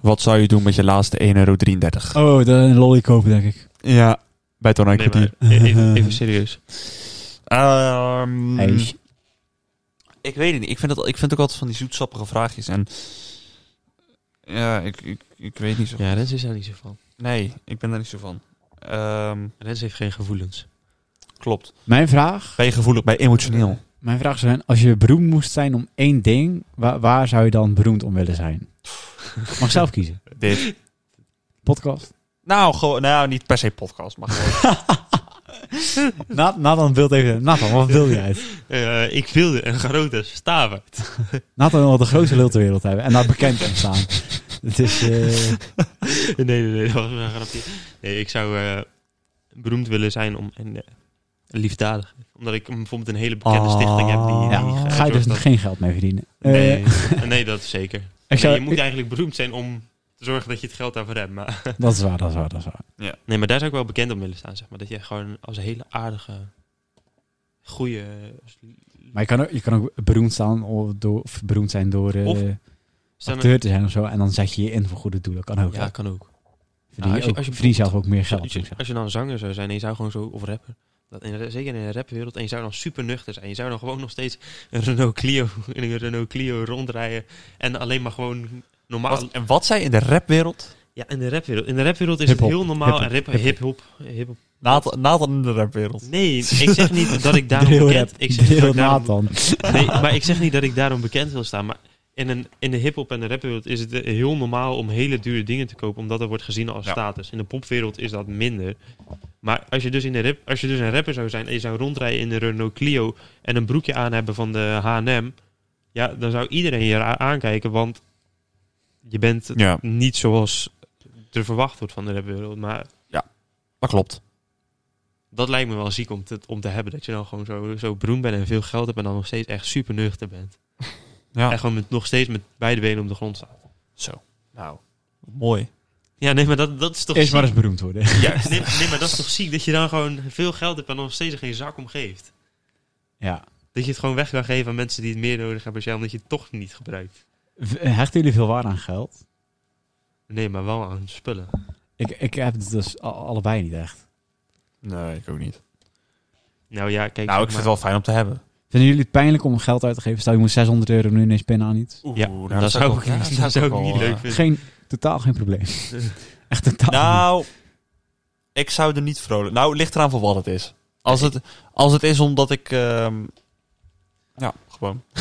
B: wat zou je doen met je laatste 1,33 euro?
C: Oh, de een lolly kopen, denk ik.
B: Ja, bij Tonijn
D: Nee, maar
B: Kwartier.
D: e- even, even serieus. Mm.
B: Ehm,
C: Hey.
B: Ik weet het niet. Ik vind, het, ik vind ook altijd van die zoetsappige vraagjes. En ja, ik, ik, ik weet niet zo.
D: Ja, Rens is daar niet zo van.
B: Nee, ik ben daar niet zo van. Ehm,
D: Rens heeft geen gevoelens.
B: klopt.
C: Mijn vraag...
B: Ben je gevoelig, ben je emotioneel?
C: Mijn vraag zou zijn, als je beroemd moest zijn om één ding, waar, waar zou je dan beroemd om willen zijn? Mag ik zelf kiezen.
B: Dit.
C: Podcast.
B: Nou, gewoon, nou, niet per se podcast, maar gewoon.
C: Na- Nathan wil even... Nathan, wat wil jij?
D: Eh, ik wilde een grote staven.
C: Nathan wil de grootste lul ter wereld hebben en daar bekend om staan. Het is... eh,
D: nee, nee, nee, dat was een grapje. Nee, ik zou eh, beroemd willen zijn om... En, eh, liefdadig. Omdat ik bijvoorbeeld een hele bekende
B: Ah,
D: stichting heb. Die,
C: ja,
D: die, eh,
C: ga je dus
D: zorgt dat-
C: geen geld mee verdienen. Eh,
D: Nee, nee, dat is zeker.
C: ik
D: Nee,
C: zou,
D: je moet eigenlijk beroemd zijn om te zorgen dat je het geld daarvoor hebt. Maar...
C: dat is waar, dat is waar, dat is waar.
D: Nee, maar daar zou ik wel bekend om willen staan, zeg maar. Dat je gewoon als een hele aardige, goede...
C: Maar je kan ook, je kan ook beroemd, staan of, door, of beroemd zijn door eh,
D: Of-
C: acteur te zijn of zo. En dan zet je je in voor goede doelen. Kan ook.
D: Ja,
C: Ja,
D: kan ook.
C: verdien,
D: als
C: je,
D: je-
C: ook-
D: als je
C: verdien zelf ook meer geld.
D: Als je, als je dan zanger zou zijn en je zou gewoon zo... Of rapper. Dat in, de- zeker in de rapwereld. En je zou dan super nuchter zijn. Je zou dan gewoon nog steeds een Renault Clio, in een Renault Clio rondrijden. En alleen maar gewoon normaal...
B: Wat, en wat zij in de rapwereld?
D: Ja, in de rapwereld. In de rapwereld is
C: Hip-hop,
D: het heel normaal. en rap,
C: hip-hop.
D: hip-hop. hip-hop.
B: Nathan, Nathan in de rapwereld.
D: Nee, ik zeg niet dat ik daarom
C: Drill
D: bekend...
C: rap,
D: Ik zeg niet dat
C: drill
D: ik daarom
C: Nathan.
D: Nee, maar ik zeg niet dat ik daarom bekend wil staan. Maar in, een, in de hip-hop en de rapwereld is het eh, heel normaal om hele dure dingen te kopen. Omdat dat wordt gezien als
B: Ja.
D: status. In de popwereld is dat minder. Maar als je, dus in de rap, als je dus een rapper zou zijn en je zou rondrijden in een Renault Clio. en een broekje aan hebben van de HM. Ja, dan zou iedereen je ra- aankijken. Want je bent
B: Ja,
D: niet zoals er verwacht wordt van de rapwereld. Maar
B: dat klopt.
D: dat lijkt me wel ziek om te, om te hebben. Dat je dan gewoon zo, zo beroemd bent en veel geld hebt. en dan nog steeds echt super nuchter bent.
C: Ah.
B: Ja.
D: En gewoon met, nog steeds met beide benen op de grond staan.
B: Zo. Nou, mooi.
D: Ja, nee, maar dat, dat is toch
C: Eerst maar
D: ziek?
C: eens beroemd worden.
D: Juist. Nee, nee, maar dat is toch ziek dat je dan gewoon veel geld hebt en nog steeds er geen zak om geeft.
C: ja.
D: Dat je het gewoon weg kan geven aan mensen die het meer nodig hebben als jij, omdat je het toch niet gebruikt.
C: V- Hechten jullie veel waarde aan geld?
D: Nee, maar wel aan spullen.
C: Ik, ik heb het dus a- allebei niet echt.
B: Nee, ik ook niet.
D: Nou ja, kijk.
B: Nou, ik
D: zeg
B: vind het
D: maar-
B: wel fijn om te hebben.
C: Vinden jullie het pijnlijk om geld uit te geven? Stel, je moet 600 euro nu ineens pinnen aan iets.
B: Oeh,
D: Ja,
B: nou,
D: dat zou ik,
B: ja,
D: niet- dat zou ik
B: ook
D: niet
B: wel,
D: leuk
B: eh,
D: vinden.
C: Geen, totaal geen probleem. echt totaal
B: Nou, ik zou er niet vrolijk... Nou, ligt eraan voor wat het is. Als het, als het is omdat ik... ehm, ja, gewoon.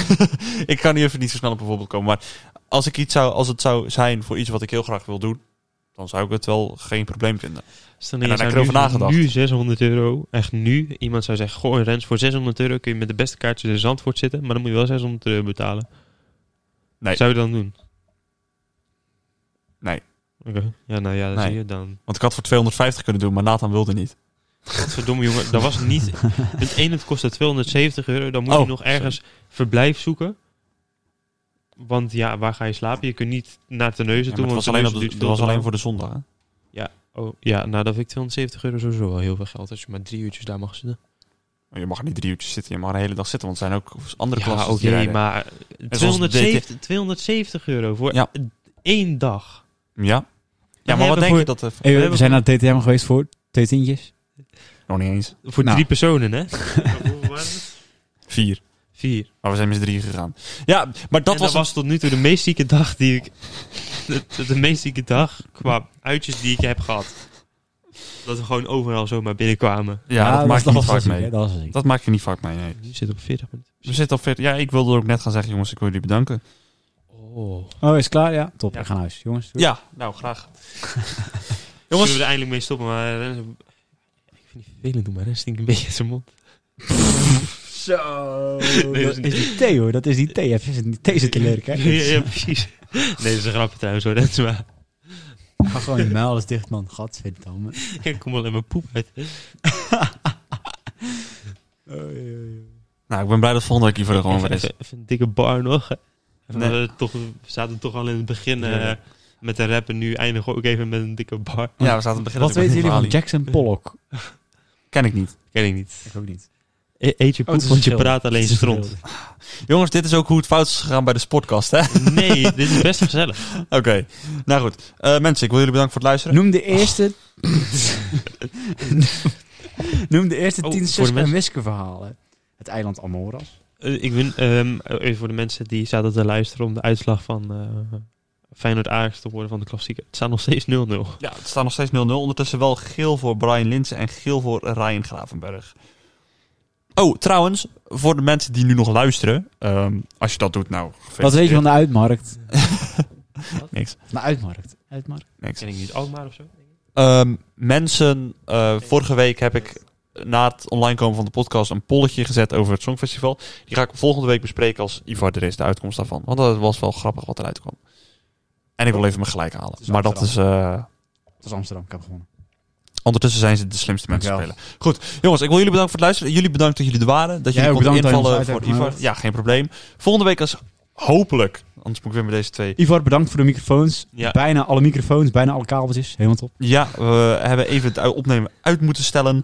B: ik kan hier even niet zo snel op bijvoorbeeld komen. Maar als, ik iets zou, als het zou zijn voor iets wat ik heel graag wil doen... dan zou ik het wel geen probleem vinden.
D: Stel,
B: En
D: je
B: daar heb
D: zou
B: ik erover
D: nu-
B: nagedacht.
D: Nu 600 euro, echt nu. Iemand zou zeggen, goh Rens, voor 600 euro kun je met de beste kaartjes in Zandvoort zitten. Maar dan moet je wel 600 euro betalen.
B: Nee.
D: Zou je dan doen?
B: Nee.
D: Oké. Ja, nou ja, dat
B: Nee.
D: zie je dan.
B: Want ik had voor 250 kunnen doen, maar Nathan wilde niet.
D: Verdomme jongen, dat was niet. Het ene kostte 270 euro, dan moet
B: Oh,
D: je nog ergens verblijf zoeken. Want ja, waar ga je slapen? Je kunt niet naar Terneuzen
B: Ja,
D: toe.
B: maar het
D: want
B: was alleen, op
D: Terneuzen
B: de-
D: duurt
B: dat was
D: veel te
B: alleen
D: lang.
B: voor de zondag. hè?
D: Oh, ja, nou dat vind ik 270 euro sowieso wel heel veel geld. Als je maar drie uurtjes daar mag zitten.
B: Je mag niet drie uurtjes zitten, je mag een hele dag zitten. Want er zijn ook andere
D: ja,
B: klassen
D: oké,
B: die rijden.
D: maar
B: zoals de
D: 270, 270 euro voor
B: Ja.
D: één dag.
B: Ja, ja maar wat
D: hebben
B: denk
D: voor-
B: je dat... er-
C: Hey, we,
D: hebben
C: zijn naar de DTM geweest voor twee tientjes.
B: Nog niet eens.
D: Voor
C: Nou.
D: drie personen, hè? Hoeveel waren het?
B: Vier.
D: Vier. En
B: Maar we zijn met z'n drieën gegaan. Ja, maar dat was...
D: tot nu toe de meest zieke dag die ik... De, de- de meest zieke dag qua uitjes die ik heb gehad. Dat we gewoon overal zomaar binnenkwamen.
B: ja, dat maak je
C: was-
B: niet
C: was
B: vaak
C: ziek,
B: mee.
C: hè, Dat was ziek.
B: Dat maak je niet vaak mee, nee.
D: Nu zit op 40 minuten.
B: We zitten al 40. Ja, ik wilde ook net gaan zeggen, jongens, ik wil jullie bedanken.
D: Oh.
C: Oh, is klaar? Ja. Top,
D: Ja.
C: we gaan naar huis. Jongens, doei.
B: Ja, nou, graag.
D: Jongens.
B: Jongens.
D: we er eindelijk mee stoppen, maar... Rens- Ik vind het vervelend doen, maar Rens stinkt een beetje in zijn mond.
C: Zo.
D: Nee, dat
C: dat
D: is
C: is die thee hoor, dat is die thee. Even die thee zitten lurken.
D: Ja,
C: hè.
D: ja, precies. Nee, dat is een grapje trouwens hoor, Rens, maar...
C: Ga gewoon je muil alles dicht man. Gadverdamme.
D: Ik kom wel in mijn poep uit.
B: Nou, ik ben blij dat volgende week hiervoor er gewoon weer
D: even,
B: is.
D: even, even een dikke bar nog. Even,
B: Nee.
D: eh, toch, we zaten toch al in het begin eh,
B: Ja.
D: met de rap en nu eindigen we ook even met een dikke bar.
B: Ja, we zaten aan het begin.
C: Wat
B: dat ik
C: weten jullie
B: met
C: van
B: Ali-
C: Jackson Pollock?
B: Ken ik niet.
D: Ken ik niet.
C: Ik ook niet.
D: E- eet je poep, want je praat alleen stront.
B: Jongens, dit is ook hoe het fout is gegaan bij de podcast, hè?
D: Nee, dit is best gezellig.
B: Oké. Nou goed. Eh, mensen, ik wil jullie bedanken voor het luisteren.
C: Noem de eerste... Noem de eerste
D: Oh,
C: tien
D: voor de
C: Suske en
D: mensen-
C: Wiske verhalen. Het eiland Amoras.
D: Eh, ik ben, ehm, even voor de mensen die zaten te luisteren om de uitslag van eh Feyenoord Ajax te horen van de klassieker. Het staat nog steeds 0-0.
B: Ja, het staat nog steeds 0-0. Ondertussen wel geel voor Brian Linsen en geel voor Ryan Gravenberg. Oh, trouwens, voor de mensen die nu nog luisteren. ehm, als je dat doet, nou...
C: Wat weet je van de uitmarkt?
B: Niks.
C: De uitmarkt. Uitmarkt.
B: Niks.
D: Ken ik niet Alkmaar of zo?
B: Ehm, mensen, eh, vorige week heb ik na het online komen van de podcast een polletje gezet over het Songfestival. Die ga ik volgende week bespreken als Ivar er is, de uitkomst daarvan. Want dat was wel grappig wat eruit kwam. En ik wil even mijn gelijk halen.
C: is
B: Maar dat is... eh,
C: Dat is Amsterdam. Ik heb gewonnen.
B: ondertussen zijn ze de slimste mensen
C: Dankjewel.
B: spelen. Goed, jongens, ik wil jullie bedanken voor het luisteren. Jullie bedankt dat jullie er waren. Dat
C: Jij
B: jullie
C: ook
B: konden
C: bedankt dat je
B: invallen
C: ons uit
B: voor
C: hebt
B: Ivar. Ja,
C: genodigd.
B: geen probleem. Volgende week als hopelijk... Anders moet ik weer met deze twee...
C: Ivar, bedankt voor de microfoons.
D: Ja.
C: Bijna alle microfoons, bijna alle kabeltjes. Helemaal top.
B: Ja, we hebben even het opnemen uit moeten stellen.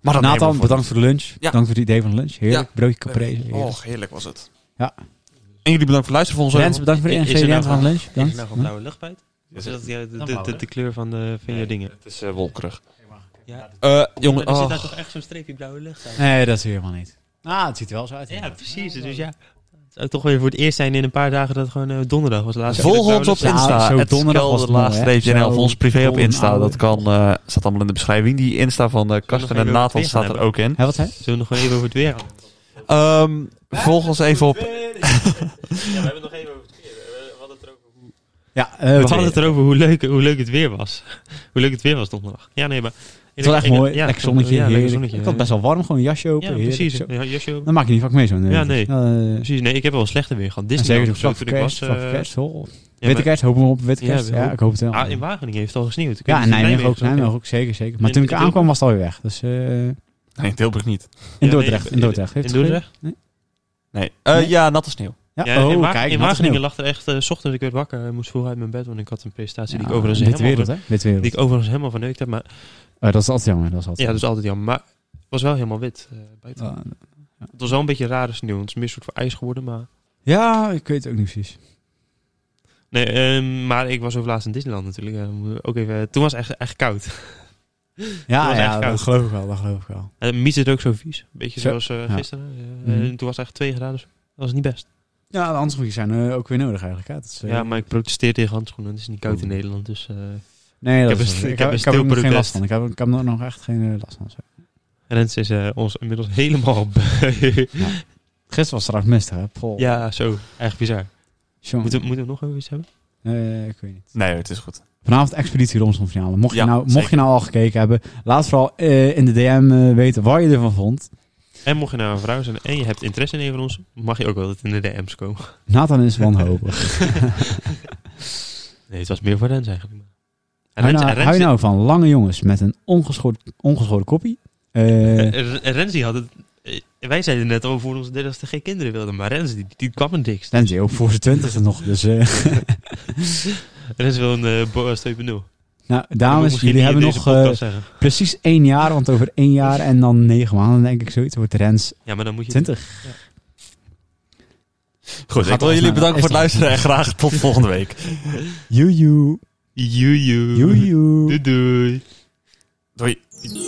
B: Maar dat nemen we
C: Nathan,
B: voor.
C: bedankt voor de lunch. Bedankt voor het idee van de lunch. Heerlijk.
B: Ja.
C: Broodje
D: Oh.
C: caprese. Heerlijk.
B: Och, Oh, heerlijk was het.
C: Ja.
B: En jullie bedankt voor het luisteren. Volgens
C: Mensen, bedankt voor de
D: Is- is er
C: ingrediënten
D: nou
C: van de lunch.
D: Is er
C: Bedankt.
D: nou gewoon blauwe lucht bij? Of is dat die- de, de, de- de kleur van, de, van je dingen?
B: Het is eh, wolkerig.
D: Ja,
B: Eh
D: maar
B: jongen,
D: er zit
B: oh,
D: daar toch echt zo'n streepje blauwe lucht aan?
C: Nee, dat is helemaal niet. Ah, het ziet er wel zo uit.
D: Ja, precies. Dus ja. Het zou toch weer voor het eerst zijn in een paar dagen dat het gewoon eh, donderdag was. de Laatste
B: volg
D: keer
B: ons
D: dat
B: op
D: we
C: Ja,
B: Insta.
C: zo
B: Het
C: donderdag was het mooi, hè?
B: kelderlaagstreepje.nl. Of
C: Zo
B: ons privé op
C: donder,
B: Insta.
C: ouwe.
B: Dat kan, eh, staat allemaal in de beschrijving. Die Insta van eh Karsten
D: nog
B: en
D: even
B: Nathan
D: over het
B: staat
D: weer
B: er ook in.
C: Hé, wat zei?
D: Zullen we nog gewoon even over het weer gaan?
B: Ehm volg ons even op...
D: Ja, we hebben het nog even over het weer. We hadden het erover hoe,
C: Ja, eh, het
D: erover hoe, leuk, hoe leuk het weer was. hoe leuk het weer was donderdag. Ja, nee, maar...
C: het was echt
D: ik-
C: mooi.
D: ja,
C: lekker zonnetje.
D: ja, lekker
C: heerlijk.
D: zonnetje.
C: Ik had best wel warm, gewoon een jasje open.
D: Ja,
C: heerlijk,
D: precies.
C: zo.
D: Ja, jasje ook.
C: Dan maak je niet vaak mee zo'n... eh,
D: Ja, nee.
C: eh,
D: Precies, nee, ik heb wel slechter weer gehad.
C: en
D: Disney
C: zeker
D: zeker
C: zo'n
D: zo,
C: vlakke
D: toen ik
C: kerst,
D: was... eh,
C: vlakke kerst. oh.
D: ja,
C: Witte
D: maar-
C: kerst, hopen we op witte
D: Ja,
C: kerst.
D: we
C: Ja,
D: hopen-
C: ik hoop het wel.
D: Ah, in Wageningen heeft het al gesneeuwd. Ik weet
C: Ja,
D: niet
C: en
D: of het
C: Nijmegen ook.
D: is.
C: Nijmegen ook, zeker, zeker. Maar
D: In-
C: toen ik
D: in
C: aankwam was het alweer weg. Dus eh,
B: Nee, Tilburg niet.
C: in
D: nee,
C: Dordrecht. In
D: in-
C: Dordrecht. Heeft
D: In
C: het
D: Dordrecht?
B: Nee. Eh,
C: Nee.
B: Ja, natte sneeuw.
C: gegeven?
D: Ja,
C: Ja,
D: in,
C: oh,
D: Wa- in
C: kijk. natte sneeuw.
D: Wageningen lag er echt... eh, 's ochtends, ik werd wakker en moest vroeg uit mijn bed. Want ik had een presentatie die ik
C: Ja,
D: overigens
C: Witte
D: helemaal...
C: wereld, hè? Witte wereld.
D: Die ik overigens helemaal verneukt heb. Maar
C: Eh, dat is altijd jammer. Dat is altijd
D: Ja, dat is altijd jammer. Maar het was wel helemaal wit eh, buiten.
C: jammer. Ah,
D: Het was wel een beetje rare sneeuw. want Het is meer soort voor ijs geworden. Maar,
C: Ja, ik weet het ook niet precies.
D: nee, ehm, maar ik was over laatst in Disneyland natuurlijk. eh, moeten we ook even, toen was het echt, echt koud.
C: Ja,
D: echt
C: ja
D: koud.
C: dat geloof ik wel. Dat geloof ik wel.
D: En Eh, Mies het ook zo vies. Een beetje
C: Zo,
D: zoals eh,
C: ja.
D: gisteren. eh,
C: Mhm.
D: en toen was het echt 2 graden. Dus dat was niet best.
C: Ja, de handschoentjes zijn eh, ook weer nodig eigenlijk. Hè? Dat is, eh,
D: Ja, maar ik protesteer tegen handschoenen. Het is niet koud in
C: Oeh.
D: Nederland. Dus eh
C: nee, dat
D: heb
C: is
D: een-
C: wel-
D: ik heb
C: ik
D: een
C: heb er nog geen
D: stilprotest.
C: last van. Ik heb, ik heb er nog echt geen eh, last van. Zo.
D: Rens is eh, ons inmiddels helemaal... beu.
C: Gisteren was trouwens mist, hè? Pol.
D: ja, zo. Echt bizar.
C: Jongen.
D: Moeten, we- moeten we nog over iets hebben?
C: Eh, ik weet niet.
B: Nee, het is goed.
C: Vanavond Expeditie Robinson finale. Mocht,
B: Ja,
C: je nou, mocht
B: zeker.
C: je nou al gekeken hebben, laat vooral eh, in de DM eh, weten waar je ervan vond.
D: En mocht je nou een vrouw zijn en je hebt interesse in een van ons... mag je ook altijd in de DM's komen.
C: Nathan is wanhopig.
D: Nee, het was meer voor Rens eigenlijk. En
C: hou, je nou,
D: en
C: hou je nou van lange jongens met een ongeschoren, ongeschoren koppie? Eh,
D: Eh, R- Renzi had het. eh, Wij zeiden net over voor ons dat ze geen kinderen wilden, maar Renzi die, die kwam het dikst.
C: Dan ook voor zijn twintigste nog. Dus eh,
D: Renzi wil een eh Boas 2.0.
C: nou,
D: Dat moet
C: dames,
D: misschien
C: jullie
D: niet
C: hebben
D: in deze
C: nog eh,
D: podcast zeggen.
C: precies één jaar. Want over één jaar en dan negen maanden, denk ik, zoiets wordt Rens
D: Ja, maar dan moet je.
C: 20.
B: Goed, ik wil
C: Gaat alles
B: jullie
C: naar-
B: bedanken voor het
C: is het
B: luisteren. En graag tot volgende week.
C: Joejoe.
D: Joejoe.
C: Joejoe.
D: Doei doei.
B: Doei.